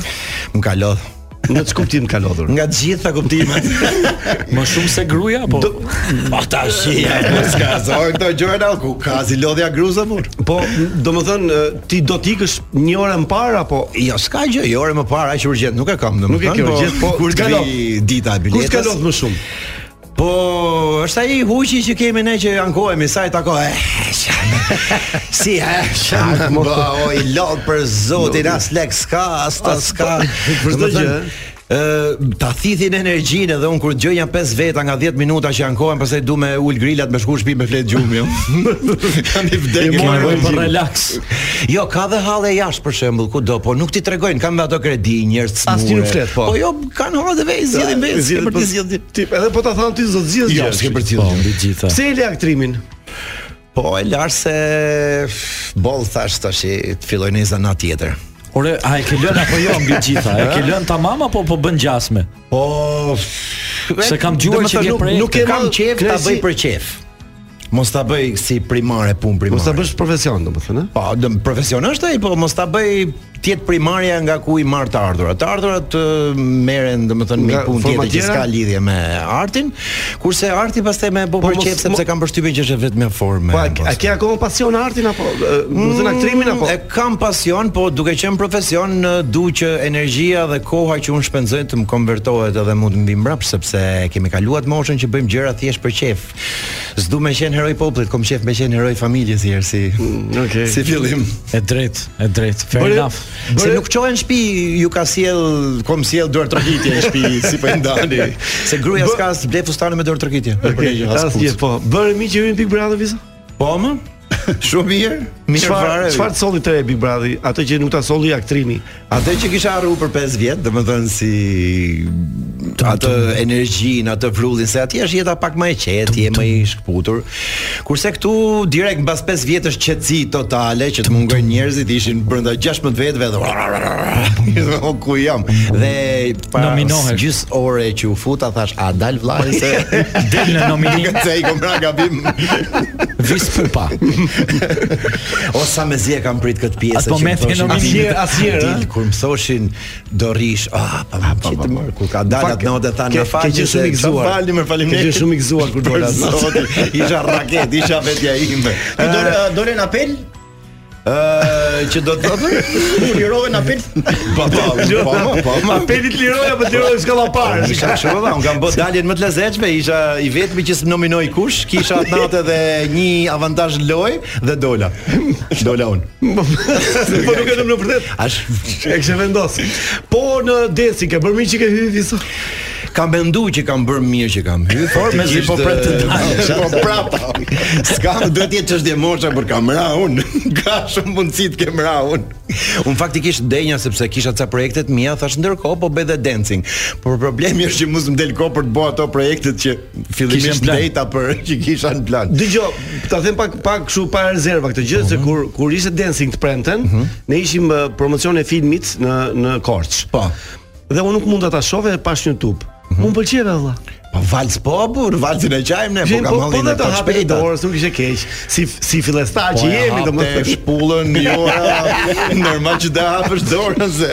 Speaker 4: Më ka lodh.
Speaker 8: Në ç'kuptim kuptim ka lodhur?
Speaker 4: Nga të gjitha kuptimet.
Speaker 9: Më shumë se gruaja, po.
Speaker 4: Ata shi, mos ka zonë këto gjëra ku ka si lodhja gruza mur.
Speaker 8: Po, domethënë e, ti do të ikësh një orë më parë apo
Speaker 4: Jo, s'ka gjë, jo orë më parë aq urgjent nuk e kam domethënë.
Speaker 8: Nuk e ke urgjent, po,
Speaker 4: kur
Speaker 8: t'ka
Speaker 4: ka
Speaker 8: lodh.
Speaker 4: dita e
Speaker 8: Kur s'ka
Speaker 4: biletës.
Speaker 8: lodh më shumë?
Speaker 4: Po, është ai huqi që kemi ne që ankohemi sa i eh, tako. E, si e shak, mo, o i lodh për zotin, as lek s'ka, as ta s'ka.
Speaker 8: çdo
Speaker 4: Domethënë,
Speaker 8: gjë,
Speaker 4: ë ta thithin energjinë dhe un kur dëgjoj janë 5 veta nga 10 minuta që ankohem, pastaj du me ul grilat me shku në shtëpi me flet gjumin. Kam i
Speaker 9: Je
Speaker 4: vdekje.
Speaker 9: marrë për relax.
Speaker 4: Jo, ka dhe halle jashtë për shembull, kudo, po nuk ti tregojnë, kanë me ato kredi, njerëz smurë.
Speaker 8: As ti nuk flet, po.
Speaker 4: Po jo, kanë hora dhe vej, zgjidhin vej, s'ke për të zgjidhur.
Speaker 8: Ti edhe po ta than ti zot zgjidh
Speaker 4: Jo, s'ke për të
Speaker 9: Po,
Speaker 4: zgjidhur.
Speaker 9: mbi gjitha.
Speaker 8: Pse e le aktrimin?
Speaker 4: Po e lash se boll thash tash të filloj në zanat tjetër.
Speaker 9: Ore, a e ke lënë apo jo mbi gjitha? E ke lënë tamam apo po bën gjasme?
Speaker 4: Po
Speaker 9: Se kam dëgjuar që ke projekte.
Speaker 4: nuk e kam
Speaker 8: Kam
Speaker 4: qejf ta
Speaker 8: knajsi-
Speaker 4: bëj për qejf. Mos ta bëj si primare punë primare.
Speaker 8: Mos ta bësh profesion domethënë, eh? ë?
Speaker 4: Po, dëm profesion është ai, po mos ta bëj tjetë primarja nga ku i marr të ardhurat. Të ardhurat ë, merren domethënë me
Speaker 8: Nga
Speaker 4: punë tjetër që
Speaker 8: formatjera?
Speaker 4: s'ka lidhje me artin, kurse arti pastaj më bë
Speaker 8: Po,
Speaker 4: për
Speaker 8: mos-
Speaker 4: qejf
Speaker 8: mo-
Speaker 4: sepse kam përshtypjen që është vetëm me formë.
Speaker 8: Po, a a ke akoma pasion artin apo ë, do të thënë aktrimin apo?
Speaker 4: E kam pasion, po duke qenë profesion ë, du që energjia dhe koha që unë shpenzoj të më konvertohet edhe mund të mbi mbrap sepse kemi kaluar atë moshën që bëjmë gjëra thjesht për qejf. S'du me qenë heroj popullit, kom qejf me qenë heroj familjes herë si.
Speaker 8: Mm, okay.
Speaker 4: Si fillim.
Speaker 9: E drejt, e drejt. Fair
Speaker 8: Bëre-
Speaker 9: enough.
Speaker 4: Se
Speaker 8: Bëre-
Speaker 4: nuk qohen në shtëpi, ju ka sjell, kom sjell dorë trokitje në shtëpi, si po i ndani. Se gruaja
Speaker 8: Bë-
Speaker 4: s'ka as ble fustane me dorë trokitje.
Speaker 8: Okej, asgjë po. Bëre mi që hyn Big Brother visa?
Speaker 4: Po më? Shumë mirë. Mirë
Speaker 8: Çfarë
Speaker 4: fare.
Speaker 8: çfarë të solli te Big Brother? Ato që nuk ta solli aktrimi.
Speaker 4: Atë që kisha arru për 5 vjet, domethënë si atë energjinë, atë vrullin se atje është jeta pak më e qetë, je më i shkputur. Kurse këtu direkt mbas 5 vjetësh qetësi totale që të mungojnë njerëzit, ishin brenda 16 vetëve dhe o ku jam. Dhe para
Speaker 9: Nominohesh.
Speaker 4: gjys ore që u futa thash, a dal vllai se
Speaker 9: Del në nominim
Speaker 4: se i kom ra gabim.
Speaker 9: Vis Pupa.
Speaker 4: O sa me zi e kam prit këtë pjesë
Speaker 9: Atë moment e nominimit.
Speaker 4: Asnjëherë,
Speaker 8: Asnjëherë,
Speaker 4: asnjëherë. Kur më thoshin do rish, ah, pa
Speaker 8: po,
Speaker 4: pa pa. Kur ka dalë atë notë thanë
Speaker 8: ke-
Speaker 4: na falni.
Speaker 8: ke qenë shumë i gëzuar.
Speaker 4: Falni më faleminderit.
Speaker 8: Ke qenë shumë i gëzuar kur
Speaker 4: Për
Speaker 8: dola atë.
Speaker 4: zotin, Isha raket, isha vetja ime.
Speaker 10: Ti
Speaker 8: Eh.
Speaker 10: dole dole në apel?
Speaker 4: Ë, që do të thotë?
Speaker 10: U lirove në apel?
Speaker 4: Po po, po po, po.
Speaker 8: Apelit liroja apo Jo, liroj skalla parë.
Speaker 4: Isha kështu valla, un kam bë daljen më të lezetshme, isha i vetmi që s'më nominoi kush, kisha atë natë edhe një avantazh loj dhe dola. Dola un.
Speaker 8: Po nuk e dëm në vërtet.
Speaker 4: Ash
Speaker 8: E kishe vendos. Po në Desi ke bërë mi që ke hyrë visa.
Speaker 4: Kam mendu që kam bërë mirë që kam hyrë, por me
Speaker 9: zi po pret të
Speaker 4: dalë. Po prap. S'kam duhet të jetë çështje moshe për kam ra unë. Ka shumë mundësi të kem ra unë. Unë faktikisht denja sepse kisha ca projekte të mia, thash ndërkohë po bëj dhe dancing. Por problemi është që mos më del kohë për të bëj ato projektet që
Speaker 9: Kishe në
Speaker 4: fillimisht
Speaker 9: plan.
Speaker 4: dejta për që kisha në plan. Mhm.
Speaker 8: Dëgjoj, ta them pak pak kështu pa rezerva këtë gjë se kur kur ishte Dancing të premten, ne ishim uh, promocion e filmit në në Korçë.
Speaker 4: Po. Mhm.
Speaker 8: Dhe unë nuk mund ta ta shohë e pash në YouTube. Mu pëlqeve valla.
Speaker 4: Po vals po burr, valsin e qajmë ne, po
Speaker 8: Gjim,
Speaker 4: kam hallin e
Speaker 8: dhe
Speaker 4: të
Speaker 8: hapet e
Speaker 4: shpejta.
Speaker 8: dorës, nuk ishte keq. Si si fillestar që
Speaker 4: Po, e
Speaker 8: jemi,
Speaker 4: hapte
Speaker 8: domethënë.
Speaker 4: shpullën, jora, normal që da hapësh dorën se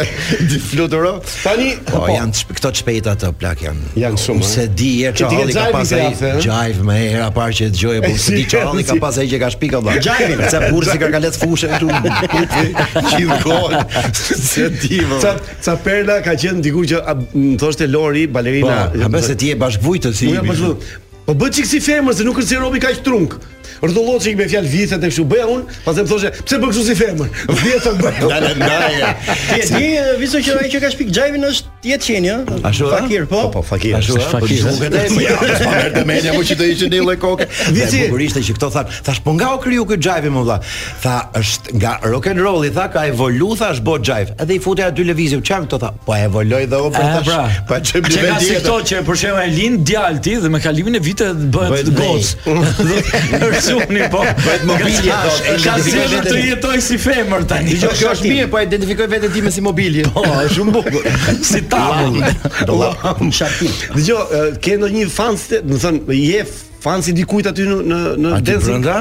Speaker 4: di fluturo.
Speaker 8: Tani
Speaker 4: po, janë të shp- këto të shpejta të plak janë.
Speaker 8: Janë shumë,
Speaker 4: Unë se
Speaker 8: eh?
Speaker 4: di e
Speaker 8: Që ti ke
Speaker 4: Çahalli ka
Speaker 8: xhajvin
Speaker 4: pas
Speaker 8: si
Speaker 4: ai
Speaker 8: rafe, eh?
Speaker 4: jive më hera parë që e dëgjoj, po
Speaker 8: E,
Speaker 4: se di
Speaker 8: si-
Speaker 4: Çahalli ka
Speaker 8: si-
Speaker 4: pas ai që ka shpika valla.
Speaker 8: Xhajvin.
Speaker 4: Sa burr si ka kalet fushën këtu. Gjithë kohën. Se di
Speaker 8: Ca
Speaker 4: valla.
Speaker 8: ca perla ka qenë diku që a, më thoshte Lori
Speaker 4: Po,
Speaker 8: balerina.
Speaker 4: a bëse ti je bashkvujtë si.
Speaker 8: Unë jam
Speaker 4: jemi.
Speaker 8: bashkë. Po bëj çik si femër se nuk rësi robi kaq trunk. Rrotulloçi me fjalë vithet e kështu bëja un, pastaj më thoshte, "Pse bën kështu si femër?" Vjetë bëj.
Speaker 4: Dale ndaje.
Speaker 10: Ti e di e, viso që ai që ka shpik xhajvin është jetë qeni, ë?
Speaker 4: Ashtu ë?
Speaker 10: Fakir, po.
Speaker 8: Po fakir.
Speaker 4: Ashtu
Speaker 8: është
Speaker 4: ë? Po
Speaker 8: fakir.
Speaker 4: zhuket e po ja, po pa merrte mendja po që të ishte një lloj koke. Dhe bukur ishte që këto thash, thash po nga u kriju ky jive më valla. Tha është nga rock and rolli tha ka evolu thash bot jive. Edhe i futja aty lëvizje çan këto tha. Po evoloj dhe u për
Speaker 9: E,
Speaker 4: tash.
Speaker 9: pra.
Speaker 4: Po çem
Speaker 9: Që
Speaker 4: bën
Speaker 9: ka si këto
Speaker 4: tjetër.
Speaker 9: që për shembull e lind djalti dhe me kalimin e viteve bëhet
Speaker 4: Bëhet
Speaker 9: goc. Rësuni po.
Speaker 4: Bëhet mobilje,
Speaker 9: Tash,
Speaker 4: do,
Speaker 9: E ka
Speaker 4: identifikoj
Speaker 9: sjellë
Speaker 4: veten.
Speaker 9: të jetoj si femër tani.
Speaker 4: Dgjoj, kjo është mirë, po identifikoj veten time si mobilje. Po, është shumë bukur.
Speaker 9: Si tavull.
Speaker 4: Dollam.
Speaker 10: Shati.
Speaker 8: Dgjoj, e, ke ndonjë fans, të- do të thënë, je fansi dikujt aty në në në
Speaker 4: A ti
Speaker 8: dancing?
Speaker 4: brenda?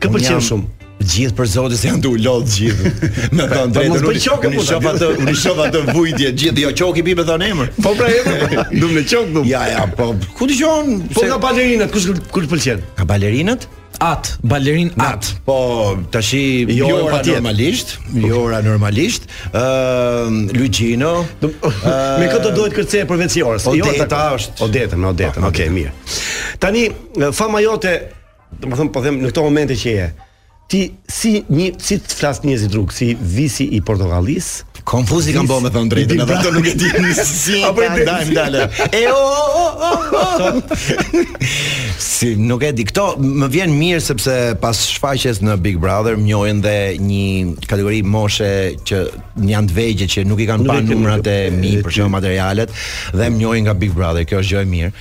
Speaker 8: Kë
Speaker 4: Unë
Speaker 8: pëlqen
Speaker 4: jam-
Speaker 8: shumë?
Speaker 4: Gjithë për zotin se janë të ulot gjithë. Me thënë
Speaker 8: po mos
Speaker 4: drejtën.
Speaker 8: bëj
Speaker 4: unë-
Speaker 8: qoke,
Speaker 4: Unë
Speaker 8: puta,
Speaker 4: shoh
Speaker 8: di.
Speaker 4: atë, unë shoh atë vujtje gjithë, jo qoki bi me thënë emër.
Speaker 8: Po pra emër, dum në qok dum.
Speaker 4: Ja, ja, po ku dëgjon?
Speaker 8: Po
Speaker 4: se-
Speaker 8: nga balerinat, kush kush pëlqen?
Speaker 4: Ka balerinat?
Speaker 9: At, balerin at.
Speaker 4: Po, tashi
Speaker 8: Jo,
Speaker 4: Jora
Speaker 8: patjetër.
Speaker 4: normalisht, Jora normalisht, ë Luigino,
Speaker 8: Do- Me këtë duhet kërcej përveç Jorës. Jo,
Speaker 4: Odeta
Speaker 8: ta-
Speaker 4: është.
Speaker 8: Odeta, me Odetën. Okej, mirë. Tani e, fama jote, domethënë po them në këto momente që je. Ti si një si të flas njerëzit rrugë, si visi i portokallis?
Speaker 4: Konfuzi kam bërë me thënë drejtën, edhe ato nuk e di pra. si.
Speaker 8: Apo
Speaker 4: Apo
Speaker 8: i
Speaker 4: i ndajm dale. E o o o o. Si nuk e di këto, më vjen mirë sepse pas shfaqjes në Big Brother më njohin dhe një kategori moshe që janë të vegjë që nuk i kanë
Speaker 8: Nuk
Speaker 4: pa
Speaker 8: e kemi
Speaker 4: numrat e
Speaker 8: kjo, e,
Speaker 4: mi
Speaker 8: e,
Speaker 4: për shkak materialet dhe më njohin nga Big Brother. Kjo është gjë e mirë.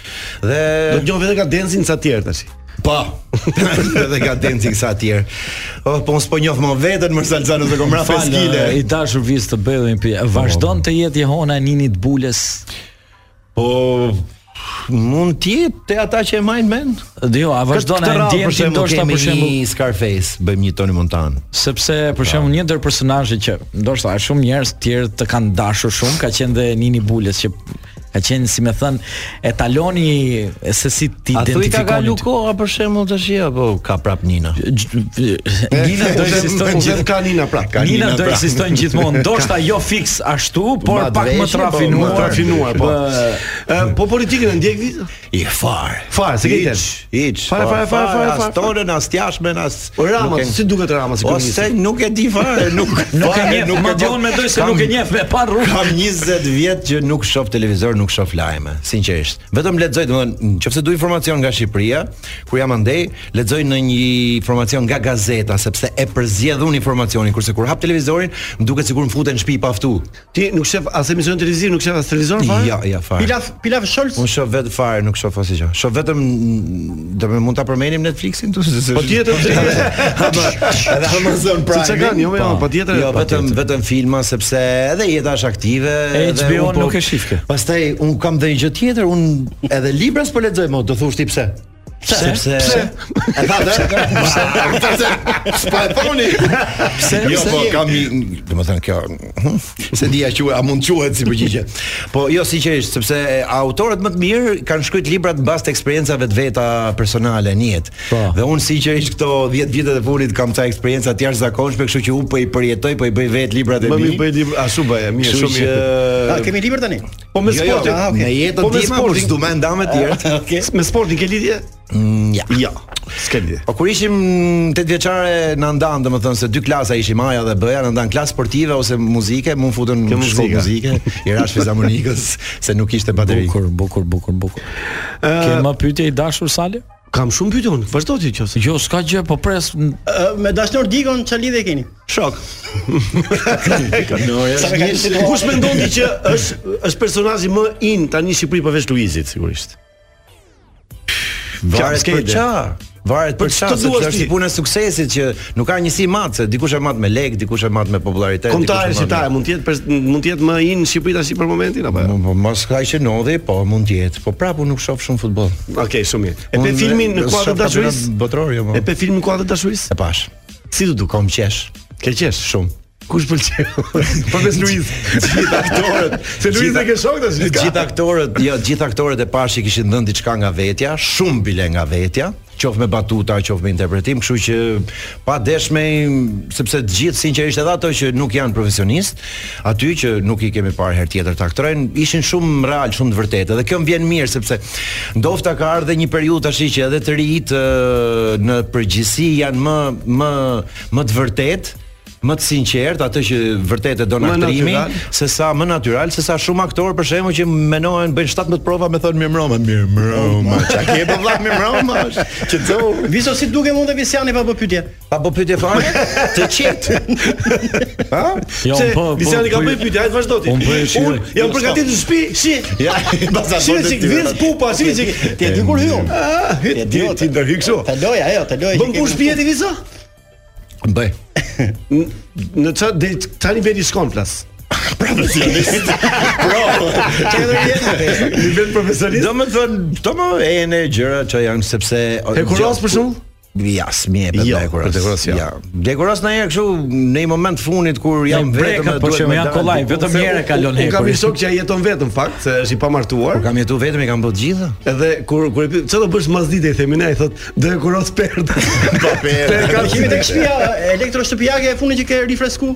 Speaker 4: Dhe
Speaker 8: Do të njohë edhe ka dancing sa tjerë tash.
Speaker 4: Po. Edhe ka dancing sa tjerë. Oh, po mos po njoh më veten më salsa nuk e kam rafë
Speaker 9: Falë,
Speaker 4: skile.
Speaker 9: i dashur vis të bëllin pi. Vazhdon të jetë Jehona e Ninit Bulës.
Speaker 4: Po mund të jetë te ata që e majnë mend.
Speaker 9: Dhe jo, a vazhdon e ndjenjë ndoshta për shembull
Speaker 4: një Scarface, bëjmë një Tony Montana.
Speaker 9: sepse për shembull një ndër personazhet që ndoshta shumë njerëz të tjerë të kanë dashur shumë ka qenë dhe Nini Bulës që ka qenë si më thën etaloni e se si ti
Speaker 4: A thuj ka
Speaker 9: identifikon.
Speaker 4: kalu koha për shembull tash apo ka prap Nina?
Speaker 9: Nina do ekzistojnë
Speaker 8: gjithë
Speaker 9: gjithë
Speaker 8: ka Nina pra.
Speaker 4: Ka
Speaker 9: Nina
Speaker 4: Nina
Speaker 9: do
Speaker 4: pra.
Speaker 9: ekzistojnë gjithmonë, ndoshta jo fiks ashtu, por
Speaker 4: Ma
Speaker 9: pak më
Speaker 4: dveshje, po,
Speaker 9: trafinuar.
Speaker 8: Më trafinuar po.
Speaker 9: Bë-
Speaker 8: Ë, Po politikën e ndjek vizë?
Speaker 4: I far.
Speaker 8: Fare, se ke
Speaker 4: Hiç,
Speaker 8: iden.
Speaker 4: Hiç. po,
Speaker 8: Fare, fare, fare, fare,
Speaker 4: As
Speaker 8: fare.
Speaker 4: tonën, as tjashmën, as
Speaker 8: O Rama,
Speaker 4: nuk e-
Speaker 8: si duket Rama si
Speaker 4: Ose nuk e di fare, nuk
Speaker 9: Nuk e
Speaker 4: fare,
Speaker 9: njeh,
Speaker 4: nuk
Speaker 9: madje unë mendoj se
Speaker 4: Kam-
Speaker 9: nuk e njeh me pa rrugë.
Speaker 4: Kam 20 vjet që nuk shoh televizor, nuk shoh lajme, sinqerisht. Vetëm lexoj, domethënë, nëse du informacion nga Shqipëria, kur jam andej, lexoj në një informacion nga gazeta, sepse e përzjedh unë informacionin, kurse kur hap televizorin, më duket sikur më futen në shtëpi pa ftu.
Speaker 8: Ti nuk shef as emision televiziv, nuk shef as televizor fare?
Speaker 4: Ja, ja, fare. Po,
Speaker 10: Pilaf Pilaf Scholz.
Speaker 4: Unë shoh vetë fare, nuk shoh asgjë. Shoh vetëm do të mund ta përmendim Netflixin tu se
Speaker 8: Po tjetër
Speaker 4: edhe Amazon Prime.
Speaker 8: Se çka kanë, jo, jo, po tjetër-
Speaker 4: Jo,
Speaker 8: po
Speaker 4: vetëm
Speaker 8: tjetër.
Speaker 4: vetëm filma sepse edhe jeta është aktive.
Speaker 9: E,
Speaker 4: edhe
Speaker 9: HBO
Speaker 4: unë po-
Speaker 9: nuk e shif kë.
Speaker 4: Pastaj un kam dhe një gjë tjetër, un edhe libras po lexoj më, do thosh ti pse? Pse? Sepse e tha dhe pse? Pse? S'pa e thoni. Pse? Jo, po kam, një- domethënë kjo, hm, se dia që a mund quhet si përgjigje. Po jo sinqerisht, sepse autorët më të mirë kanë shkruajt libra mbas të eksperiencave të veta personale në jetë.
Speaker 9: Po.
Speaker 4: Dhe unë sinqerisht këto 10 vitet e fundit kam ca eksperienca të jashtëzakonshme, kështu që unë po i përjetoj, po i bëj vetë librat e
Speaker 8: Më
Speaker 4: mi.
Speaker 8: mi bëj libër, ashtu bëj, mirë,
Speaker 4: Kështu
Speaker 8: shumë
Speaker 4: që
Speaker 8: mirë.
Speaker 10: A kemi libër tani?
Speaker 8: Po me
Speaker 4: Jo, jo,
Speaker 8: sportin,
Speaker 4: ah, okay. në jetën
Speaker 8: Po me
Speaker 4: time, por
Speaker 8: sportin.
Speaker 4: s'du me nda me të tjerë.
Speaker 10: Okej.
Speaker 8: me sportin ke lidhje?
Speaker 4: Mm, Ja.
Speaker 8: Ja, s'ke lidhje.
Speaker 4: Po kur ishim 8 vjeçare në ndan, domethënë se dy klasa ishim Aja dhe Bëja, në ndan klasë sportive ose muzike, mund futën
Speaker 8: Kjo
Speaker 4: në shkollë
Speaker 8: muzika.
Speaker 4: muzike, i rash fizamonikës se nuk ishte bateri.
Speaker 9: Bukur, bukur, bukur, bukur. Ke më pyetje i dashur Sali?
Speaker 8: Kam shumë pyetje unë, vazhdo ti qofse.
Speaker 9: Jo, s'ka gjë, po pres. m-
Speaker 10: Ë, Me dashnor Dikon çfarë lidhje keni?
Speaker 8: Shok.
Speaker 4: Po,
Speaker 10: Sa me ka qenë?
Speaker 8: Kush mendon ti që është është personazhi më in tani në Shqipëri përveç Luizit sigurisht?
Speaker 4: Varet
Speaker 8: s'ke
Speaker 4: për
Speaker 8: ide.
Speaker 4: ça? Varet për çfarë, sepse është si puna e suksesit që nuk ka njësi mat, se dikush e mat me lek, dikush e mat me popularitet.
Speaker 8: Kombëtare shqiptare mund të jetë pres- mund të jetë më in në Shqipëri tash për momentin apo? jo?
Speaker 4: Po mos ka që ndodhi, po mund të jetë. Po prapë unë nuk shoh shumë futboll.
Speaker 8: Okej, shumë mirë. E pe filmin në kuadër të dashurisë?
Speaker 4: Botror jo.
Speaker 8: E pe filmin në kuadër të dashurisë?
Speaker 4: E pash.
Speaker 8: Si do
Speaker 4: kom qesh?
Speaker 8: Ke qesh
Speaker 4: shumë.
Speaker 8: Kush pëlqeu? Përveç Luiz.
Speaker 4: Gjithë aktorët.
Speaker 8: Se Luiz e ke shok tash.
Speaker 4: Gjithë gjithë aktorët, jo, gjithë aktorët e pashë i kishin dhënë diçka nga vetja, shumë bile nga vetja qoftë me batuta, qoftë me interpretim, kështu që pa deshme, sepse të gjithë sinqerisht edhe ato që nuk janë profesionistë, aty që nuk i kemi parë herë tjetër të aktorojnë, ishin shumë real, shumë të vërtetë. Dhe kjo më vjen mirë sepse ndofta ka ardhe një periudhë tash që edhe të rijit ë, në përgjithësi janë më më më të vërtetë më të sinqert atë që vërtet e don
Speaker 8: Më
Speaker 4: aktrimi,
Speaker 8: natyral.
Speaker 4: se sa më natyral, se sa shumë aktorë për shembull që menohen bëjnë 17 prova me thonë mirëmbrëma, mirëmbrëma. Çka ke po vllaj mirëmbrëma? Që do
Speaker 10: Viso si duke mund të visiani pa bë pyetje.
Speaker 4: Pa bë pyetje fare? Të qetë.
Speaker 8: Ha?
Speaker 9: Jo,
Speaker 8: Se,
Speaker 9: po, po,
Speaker 8: Visiani ka
Speaker 9: po,
Speaker 8: bëj pyetje, hajde vazhdo ti.
Speaker 9: Unë bëj shirë.
Speaker 8: Unë jam përgatitur në shtëpi, shi.
Speaker 4: Ja, baza
Speaker 8: Shi
Speaker 4: bërë
Speaker 8: si
Speaker 4: ty,
Speaker 8: viz
Speaker 4: ata.
Speaker 8: pupa, shi si.
Speaker 10: Ti e di kur hyn.
Speaker 4: Ah,
Speaker 8: Ti ti ti ndërhy kështu.
Speaker 10: Te loja, jo, te loja.
Speaker 8: Bën push pjeti vizo?
Speaker 4: Bëj.
Speaker 8: N- Në ça deri ça niveli shkon plas. Nivel profesionist.
Speaker 4: Do më thënë, këto më e në gjëra që janë sepse
Speaker 8: Hekuros për shembull?
Speaker 4: Ja, s'mi e për
Speaker 8: Jo,
Speaker 4: dekuros.
Speaker 8: për dekuros, jo.
Speaker 4: Dekuros në herë kështu në një moment funit kur jam
Speaker 9: breka,
Speaker 4: vetëm e
Speaker 9: po
Speaker 4: duhet
Speaker 9: që
Speaker 4: me
Speaker 9: më janë
Speaker 4: dalë,
Speaker 9: kollaj,
Speaker 4: po,
Speaker 9: vetëm
Speaker 4: se
Speaker 9: një herë
Speaker 4: u-
Speaker 9: kalon
Speaker 8: Unë kam
Speaker 9: hekuri.
Speaker 8: një shok që ai jeton vetëm fakt, se është i pamartuar.
Speaker 4: Kur kam jetu vetëm i kam bërë të gjitha.
Speaker 8: Edhe kur kur e pyet çfarë do bësh mas dite i themi ne, i thot do e kuros perdë.
Speaker 4: Pa perdë.
Speaker 8: ka
Speaker 10: Kemi tek shtëpia elektroshtëpiake e fundit që ke rifresku.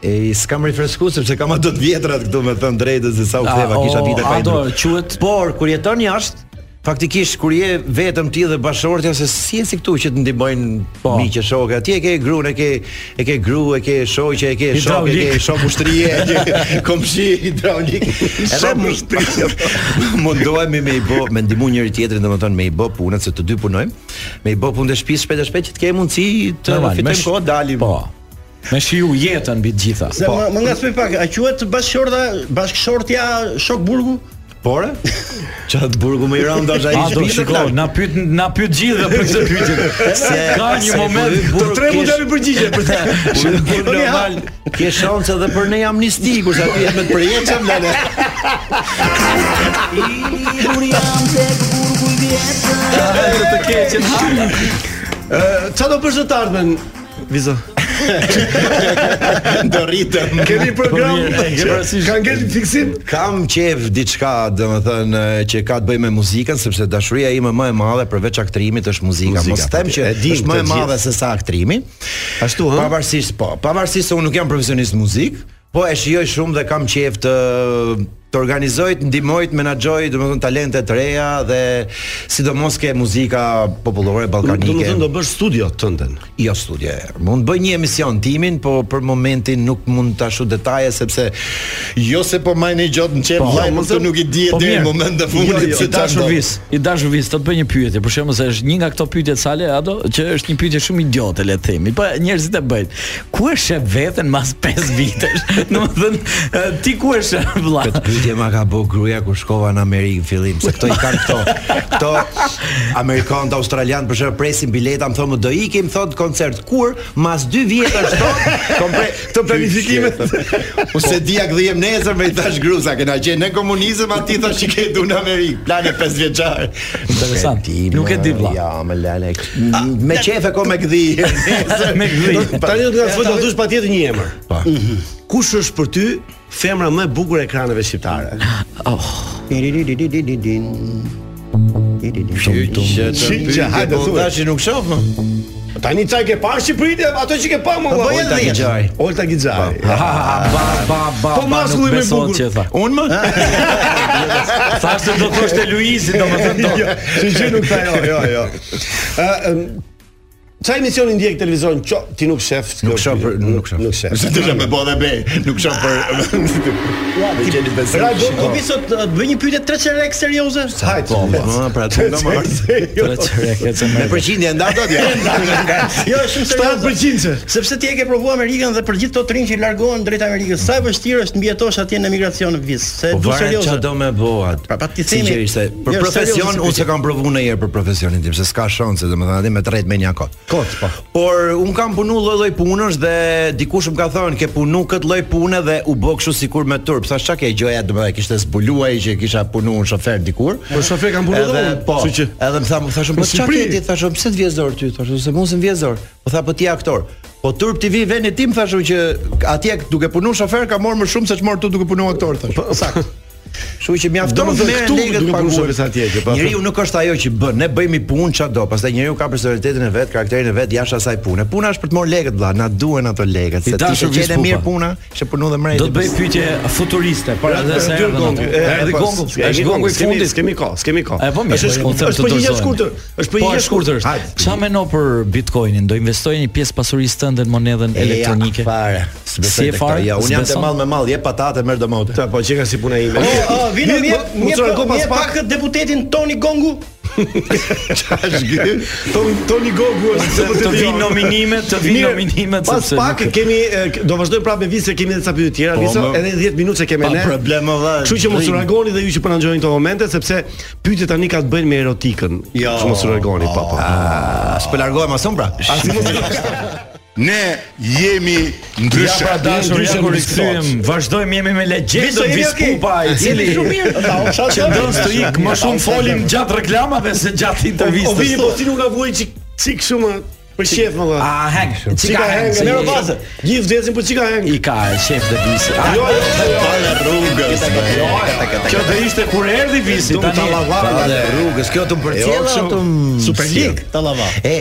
Speaker 4: E s'kam rifresku sepse kam ato të vjetrat këtu me thënë drejtë se sa u
Speaker 9: A,
Speaker 4: ktheva kisha
Speaker 9: o, a
Speaker 4: vite pa i
Speaker 9: do,
Speaker 4: ndryshme.
Speaker 9: quhet-
Speaker 4: Por kur jeton jashtë, faktikisht kur je vetëm ti dhe bashortja se si je si këtu që të ndihmojnë
Speaker 9: Po.
Speaker 4: miqë shokë. Atje e ke gruan, e ke e ke gru, e ke shoqe, e ke shokë, e ke
Speaker 9: Hidraulik.
Speaker 4: shok ushtrie, e ke komshi hidraulik. Edhe mu- mundohemi me i bë, me ndihmu njëri tjetrin, domethënë me i bë punët se të dy punojmë, me i bë punë të shtëpisë shpejt e shpejt që të kemi mundësi të
Speaker 9: Normal, me
Speaker 4: fitojmë
Speaker 9: sh-
Speaker 4: kohë dalim.
Speaker 9: Po. Me shiu jetën mbi të gjitha. Po.
Speaker 10: Se
Speaker 4: Po.
Speaker 10: më më ngacmoj pak, a quhet bashkëshorta, bashkëshortja Shokburgu?
Speaker 4: Por, çat burgu më i rënda është ai
Speaker 9: A do
Speaker 4: shtëpi
Speaker 9: shiko, na pyet na pyet gjithë dhe për këtë pyetje.
Speaker 4: Se
Speaker 9: Ka një moment
Speaker 4: të tre mund
Speaker 8: jemi përgjigje për të.
Speaker 4: normal. Ke shans edhe për ne amnisti kur sa ti me të përjetshëm lale.
Speaker 9: të keqen.
Speaker 8: Çfarë do bësh në të ardhmen? Vizo.
Speaker 4: Do rritëm.
Speaker 8: Kemi program.
Speaker 9: mirë, e ke
Speaker 8: që
Speaker 9: parasysh.
Speaker 8: Ka ngel fiksim.
Speaker 4: Kam qef diçka, domethënë që ka të bëjë me muzikën, sepse dashuria ime më e madhe përveç aktrimit është muzika.
Speaker 8: Muzika,
Speaker 4: Mos them
Speaker 8: po,
Speaker 4: që
Speaker 8: e dim
Speaker 4: është më
Speaker 8: të
Speaker 4: e madhe se sa aktrimi.
Speaker 8: Ashtu, ha?
Speaker 4: Pavarësisht po, pavarësisht se unë nuk jam profesionist muzik, po e shijoj shumë dhe kam qef të të organizoj, të ndihmoj, të menaxhoj, domethënë talente të reja dhe sidomos ke muzika popullore
Speaker 8: Do të
Speaker 4: ballkanike.
Speaker 8: thënë do bësh studio tënden.
Speaker 4: Jo studje. Mund bëj një emision timin, po për momentin nuk mund ta shoh detaje sepse jo se po maj një gjatë në çep,
Speaker 9: Po,
Speaker 4: vllai,
Speaker 9: jo,
Speaker 4: mos
Speaker 9: mos e-
Speaker 4: të nuk i dije
Speaker 9: po,
Speaker 4: deri në
Speaker 9: mirë.
Speaker 4: moment të
Speaker 9: Jo,
Speaker 4: fundit
Speaker 9: jo,
Speaker 4: se
Speaker 9: i
Speaker 4: çfarë
Speaker 9: dashur
Speaker 4: ndodh.
Speaker 9: vis, i dashur vis, do të bëj një pyetje. Për shembull se është një nga këto pyetjet sale ato që është një pyetje shumë idiote le të themi. Po njerëzit e bëjnë. Ku e shef veten mas 5 vitesh? Domethënë e, ti ku e shef vëlla?
Speaker 4: Këtë pyetje ma ka bë gruaja kur shkova në Amerikë në fillim, se këto i kanë këto. Këto amerikanë të australianë për shkak presin bileta, më thonë do ikim, thot koncert kur mas 2 vjetësh thot, kompre këto planifikimet. Ose dia gdhiem nesër me i thash gruza, kena qenë në komunizëm aty thash që ke du në Amerikë, plane 5 vjeçar.
Speaker 9: Interesant. Nuk e di, vlla. Ah,
Speaker 4: Ja, me lale. Me qefe ko me gdhi.
Speaker 9: Me gdhi.
Speaker 8: Tani do të nga do thosh patjetër një emër. Po. Kush është për ty femra më e bukur e ekraneve shqiptare? Që hajde
Speaker 4: Po
Speaker 8: thuaj.
Speaker 4: tash nuk shoh më.
Speaker 8: Tani çaj ke parë Shqipëritë, ato që ke pa më valla.
Speaker 4: Po, Olta Gixhaj.
Speaker 8: Olta Gixhaj.
Speaker 9: Ha, ha, ha, ba, ba, ba,
Speaker 8: Po,
Speaker 9: ba, nuk
Speaker 8: maskulli më i
Speaker 9: beson
Speaker 8: bukur.
Speaker 9: që e tha.
Speaker 4: Unë më?
Speaker 9: Thashë do thoshte Luizi, domethënë do.
Speaker 8: Jo, që që nuk tha jo, jo, jo. Ë, ëm, Çfarë emisioni ndjek televizion? Qo, ti nuk shef.
Speaker 4: Nuk shoh për- nuk shoh.
Speaker 8: Nuk shef.
Speaker 4: Se të jam me bodhe be, nuk shoh për. Ja, ti jeni besoj.
Speaker 8: Pra,
Speaker 10: Radio, po vi sot të bëj një pyetje 3 çerek serioze.
Speaker 8: Hajt.
Speaker 4: Po, ma pra të nga marr.
Speaker 9: Tre çereke të
Speaker 4: Me
Speaker 9: merr.
Speaker 4: përqindje ndat atje.
Speaker 10: Jo, është shumë serioze.
Speaker 8: 7%.
Speaker 10: Sepse ti e ke provu Amerikën dhe për gjithë këto të rinj që largohen drejt Amerikës, sa e vështirë është mbijetosh atje në migracion vis. Se
Speaker 4: Po
Speaker 10: du
Speaker 4: varet
Speaker 10: serioze.
Speaker 4: çfarë do me bëhat.
Speaker 8: Pra,
Speaker 10: Pa- pa, ti themi-
Speaker 4: Sinqerisht, se për
Speaker 10: Jo,
Speaker 4: profesion
Speaker 10: serioze,
Speaker 4: unë
Speaker 10: pyetje.
Speaker 4: se kam provu në herë për profesionin tim, se s'ka shanse, domethënë aty me tret me një kot.
Speaker 8: Kot, po.
Speaker 4: Por un kam punu lloj-lloj punësh dhe dikush më ka thënë ke punu këtë lloj pune dhe u bë kështu sikur me turp. Thash çka ke gjoja, domethënë kishte zbuluaj që kisha punu në shofer dikur.
Speaker 8: Po, shofer kam punu
Speaker 4: edhe
Speaker 8: dhe unë,
Speaker 4: po.
Speaker 8: kështu që-
Speaker 4: Edhe më tha, më thashëm, po
Speaker 8: Në
Speaker 4: çka
Speaker 8: Shqipëri."
Speaker 4: ke ti? Thashëm, pse të vjezor ty? Thashëm, se mos të vjezor. Po tha, po ti je aktor. Po Turp TV veni tim thashëm që atje duke punuar shofer ka marrë më shumë se ç'mor tu duke punuar aktor thash.
Speaker 8: Saktë.
Speaker 4: Kështu që mjafton
Speaker 8: Domethënë
Speaker 4: të merren
Speaker 8: këtu
Speaker 4: lekët
Speaker 8: duke
Speaker 4: pa
Speaker 8: punuar
Speaker 4: punë.
Speaker 8: shofer sa atje që, pa-
Speaker 4: Njeriu nuk është ajo që bën, ne bëjmë i punë çado, pastaj njeriu ka personalitetin e vet, karakterin e vet jashtë asaj pune. Puna është për të marrë lekët vëlla, na duhen ato lekët,
Speaker 9: I
Speaker 4: se ti
Speaker 9: dashur
Speaker 4: të gjene
Speaker 9: Vispupa.
Speaker 4: mirë puna, që punu dhe mrejtë.
Speaker 9: Do të bëj pyetje futuriste para se se
Speaker 8: Erdhi
Speaker 9: erdhën atë.
Speaker 8: gongu.
Speaker 9: Erdhi gongu, është gongu i fundit.
Speaker 8: Kemi kohë, s'kemi kohë.
Speaker 9: E po mirë.
Speaker 8: Është
Speaker 9: po, unë them
Speaker 8: është
Speaker 9: të
Speaker 8: përgjigje e
Speaker 9: dorëzohemi.
Speaker 8: shkurtër. Është
Speaker 9: Po,
Speaker 8: përgjigje e shkurtër.
Speaker 9: është. Çfarë meno për Bitcoinin? Do investojë një pjesë pasurisë tënde në monedhën elektronike?
Speaker 4: Fare.
Speaker 9: Si e fare?
Speaker 4: Ja, jo, unë jam të
Speaker 9: S'beson?
Speaker 4: mall me mall, jep patate, merr domote.
Speaker 8: Ta po që ka si puna ime.
Speaker 10: Po, oh, vino
Speaker 8: Mirë,
Speaker 10: mje,
Speaker 8: po,
Speaker 10: mje,
Speaker 8: mocor,
Speaker 10: po,
Speaker 8: go pas
Speaker 10: mje pak deputetin Toni Gongu.
Speaker 8: Toni Toni Gogu është
Speaker 9: Të- të vinë nominimet, të vinë
Speaker 8: Jo. Mirë,
Speaker 9: nominimet,
Speaker 8: Pas
Speaker 9: sepse
Speaker 8: pak
Speaker 9: nuk-
Speaker 8: kemi e, k- do vazhdojmë prapë me vizë se kemi edhe ca pyetje tjera,
Speaker 4: Po,
Speaker 8: vizë
Speaker 4: më-
Speaker 8: edhe 10 minutë se kemi
Speaker 4: Pa
Speaker 8: ne.
Speaker 4: problem, o vllai,
Speaker 8: Kështu që mos
Speaker 4: rrim.
Speaker 8: u largoni dhe ju që po na ngjojnë këto momente sepse pyetjet tani ka të bëjnë me erotikën.
Speaker 4: Jo.
Speaker 8: Kështu mos u largoni, po po.
Speaker 4: Ah, s'po largohem asun pra.
Speaker 7: Ne jemi
Speaker 9: Ja
Speaker 7: ndryshe.
Speaker 9: pra dashur, ja kur rikthyem, vazhdojmë jemi me legjendën
Speaker 10: Viso, jemi
Speaker 9: Vispupa, i cili që ndon të ik më shumë folim gjatë reklamave se gjatë
Speaker 8: O vini po
Speaker 9: intervistës.
Speaker 8: si nuk ka vuaj çik çik shumë për shef më
Speaker 4: Ah,
Speaker 8: dha.
Speaker 9: A hang,
Speaker 8: Çika
Speaker 9: çika hang,
Speaker 8: heng,
Speaker 9: se
Speaker 8: merr
Speaker 9: i-
Speaker 8: bazë. Gjithë vdesin për çika heng.
Speaker 9: I ka shef dhe visi.
Speaker 8: Jo, jo, jo.
Speaker 4: Tale rrugës.
Speaker 9: Kjo do ishte kur erdhi visi
Speaker 8: Do të
Speaker 9: tani.
Speaker 8: tallavara.
Speaker 4: Tale rrugës, kjo të
Speaker 8: Jo,
Speaker 4: mpërcjella
Speaker 8: kështu.
Speaker 4: atë
Speaker 10: Super League, Tallava.
Speaker 4: E,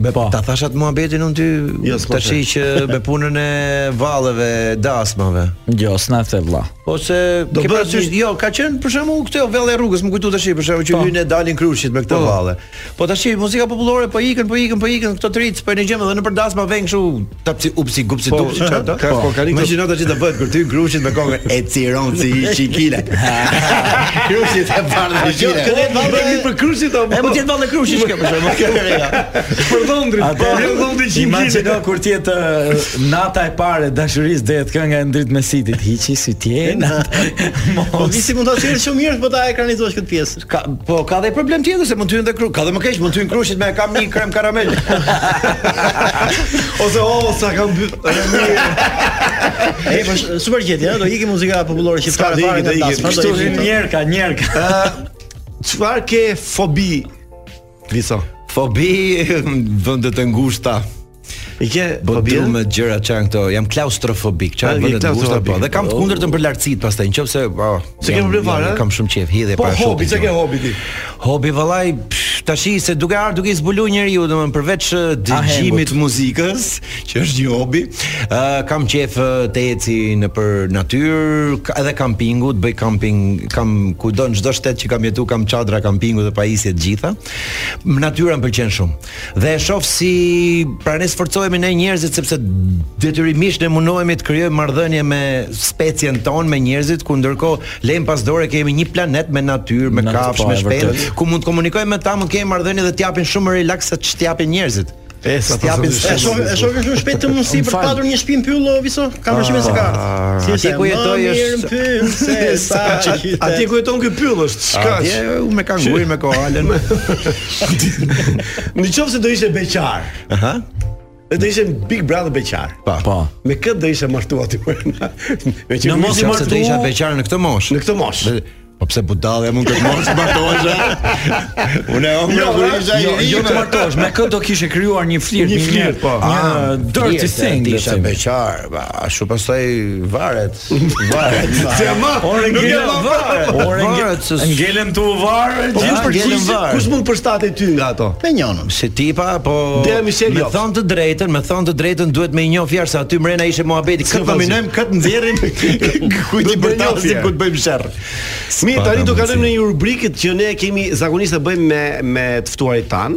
Speaker 4: me
Speaker 9: Po.
Speaker 4: po. Ta thashat muhabetin unë ty
Speaker 8: Jo, s'po
Speaker 4: tash që me punën e valleve, dasmave.
Speaker 9: Jo, s'na the vlla.
Speaker 4: Ose
Speaker 8: Do
Speaker 4: do ke
Speaker 8: bëhet
Speaker 4: parasysh, jo, ka qenë për shembull këto vallë e rrugës, më kujtu tash për shembull që
Speaker 9: Po.
Speaker 4: hyn e dalin kryshit me këto valle. Po tash muzika popullore po ikën, po ikën, po ikën këto tric, po ne gjejmë edhe në për dasma vën kështu tapsi upsi gupsi
Speaker 8: Po,
Speaker 4: dupsi çfarë do.
Speaker 8: ka- po, ka një-
Speaker 4: Imagjino tash të bëhet kur ty kryshit me kokën e ciron si i çikile. Kryshit e bardhë me
Speaker 8: Jo,
Speaker 4: qile.
Speaker 8: kënet vallë për kryshit apo?
Speaker 4: E po ti vallë kryshit shkë për shembull. Kjo rega.
Speaker 8: për dhëndrin.
Speaker 9: Atë
Speaker 8: Për dhëndrin që
Speaker 9: Imagjino po, kur ti jetë nata e parë e dashurisë dehet kënga e ndrit me sitit, hiçi si tje.
Speaker 10: Po visi mund ta sjellë shumë mirë, po ta ekranizosh këtë pjesë.
Speaker 4: Ka, po ka dhe problem tjetër se mund të hyn dhe kru, ka dhe më keq mund të hyn krushit me kam një krem karamel.
Speaker 8: Ose o sa kam mbyt.
Speaker 10: E, po është super gjetje, ëh, do iki muzika popullore
Speaker 8: Ska,
Speaker 10: shqiptare
Speaker 8: do
Speaker 10: fare
Speaker 8: iki, do
Speaker 10: nga
Speaker 8: iki.
Speaker 10: dasma, do
Speaker 9: Kështu
Speaker 10: iki.
Speaker 9: hyn njerka, njerka.
Speaker 8: Çfarë ke fobi? Viso.
Speaker 4: Fobi vende të ngushta.
Speaker 8: I ke
Speaker 4: Po
Speaker 8: fobi?
Speaker 4: du me gjëra që janë këto, jam klaustrofobik,
Speaker 8: Ah,
Speaker 4: çfarë
Speaker 8: je
Speaker 4: vende të ngushta
Speaker 8: klaustrofobik.
Speaker 4: po. Dhe kam të kundërtën për lartësitë pastaj, nëse oh,
Speaker 8: Se ke problem fare, a?
Speaker 4: Kam shumë qejf hidhje
Speaker 8: Po
Speaker 4: para
Speaker 8: hobi,
Speaker 4: shotit,
Speaker 8: çka ke
Speaker 4: no.
Speaker 8: hobi ti?
Speaker 4: Hobi vallaj psh, tash i se duke ardhur duke i zbulu njeriu domethënë përveç eh, dëgjimit muzikës, që është një hobi, eh, kam qejf eh, të eci në për natyrë, ka- edhe kampingu, të bëj kamping, kam kudo në çdo shtet që kam jetu, kam çadra kampingu dhe pajisje të gjitha. Natyra më pëlqen shumë. Dhe e shoh si pra ne sforcohemi ne njerëzit sepse detyrimisht ne mundohemi të krijojmë marrëdhënie me specien tonë, me njerëzit, ku ndërkohë lejm pas dore kemi një planet me natyrë, me
Speaker 9: Natyrë,
Speaker 4: kafshë,
Speaker 9: po,
Speaker 4: me
Speaker 9: e
Speaker 4: shpellë,
Speaker 9: vërtet.
Speaker 4: ku mund të komunikojmë me ta, mund kemi marrëdhënie dhe t'japin shumë më relaks se t'japin njerëzit.
Speaker 8: E, sa
Speaker 4: T'japin
Speaker 8: pasojë
Speaker 10: E shoh e shoh shumë shpejt të mundësi
Speaker 9: Më
Speaker 10: për të
Speaker 9: fal.
Speaker 10: patur një shtëpi mbyllë o, viso, kam përshtypjen se ka. ardhur.
Speaker 4: Ah. atje
Speaker 10: se,
Speaker 4: ku jetoj
Speaker 10: më mirë
Speaker 4: është-
Speaker 10: mbyll se sa qytet.
Speaker 8: Atje ku jeton ky pyll është, çka?
Speaker 4: Atje u me kangurin me koalën.
Speaker 8: Në qoftë se do ishte beqar,
Speaker 4: Aha.
Speaker 8: dhe do ishte Big Brother beqar.
Speaker 4: Pa.
Speaker 9: Po.
Speaker 8: Me këtë do ishe martuar po. ti për na. Me që
Speaker 9: Në mos i
Speaker 4: Nëse
Speaker 9: martu-
Speaker 4: do isha beqar në këtë moshë.
Speaker 8: në këtë moshë.
Speaker 4: Dhe- Po pse budallë mund këtë moshë martohesh? Unë e
Speaker 8: Jo,
Speaker 4: omra kur isha i
Speaker 9: Jo,
Speaker 4: ri.
Speaker 9: jo të martosh, me këtë do kishe krijuar një flirt,
Speaker 8: Një flirt, po.
Speaker 9: Një dirty
Speaker 4: Mirë, se
Speaker 9: thing,
Speaker 4: ti
Speaker 9: do
Speaker 4: Ah, isha
Speaker 9: të them.
Speaker 4: beqar, ba, ashtu pastaj varet, varet.
Speaker 8: Se ama,
Speaker 9: Ore
Speaker 8: nuk e
Speaker 9: ngelem
Speaker 8: ma
Speaker 9: varë.
Speaker 4: varë.
Speaker 9: Ore
Speaker 4: Varet se s-
Speaker 9: nge- ngelem tu varë.
Speaker 4: Po,
Speaker 9: Gjithë
Speaker 4: a, ngelem
Speaker 8: Kush-
Speaker 4: varë.
Speaker 8: Kush mund përshtatej ty nga ato?
Speaker 10: Me njonën.
Speaker 4: Se tipa, po
Speaker 8: Dea Michel jo.
Speaker 4: me
Speaker 8: Jobs.
Speaker 4: thon të drejtën, me thon të drejtën duhet me i njoh fjalë se aty mrena ishte muhabeti. Këtë
Speaker 8: pasi.
Speaker 4: dominojmë, këtë nxjerrim, ku
Speaker 8: Do
Speaker 4: ti
Speaker 8: të bëjmë
Speaker 4: përtasim,
Speaker 8: njohje.
Speaker 4: ku të bëjmë sherr.
Speaker 8: Mirë,
Speaker 4: Pa,
Speaker 8: tani
Speaker 4: ka
Speaker 8: do
Speaker 4: mundësi.
Speaker 8: kalojmë në një rubrikë që ne kemi zakonisht e bëjmë me me të ftuarit tan.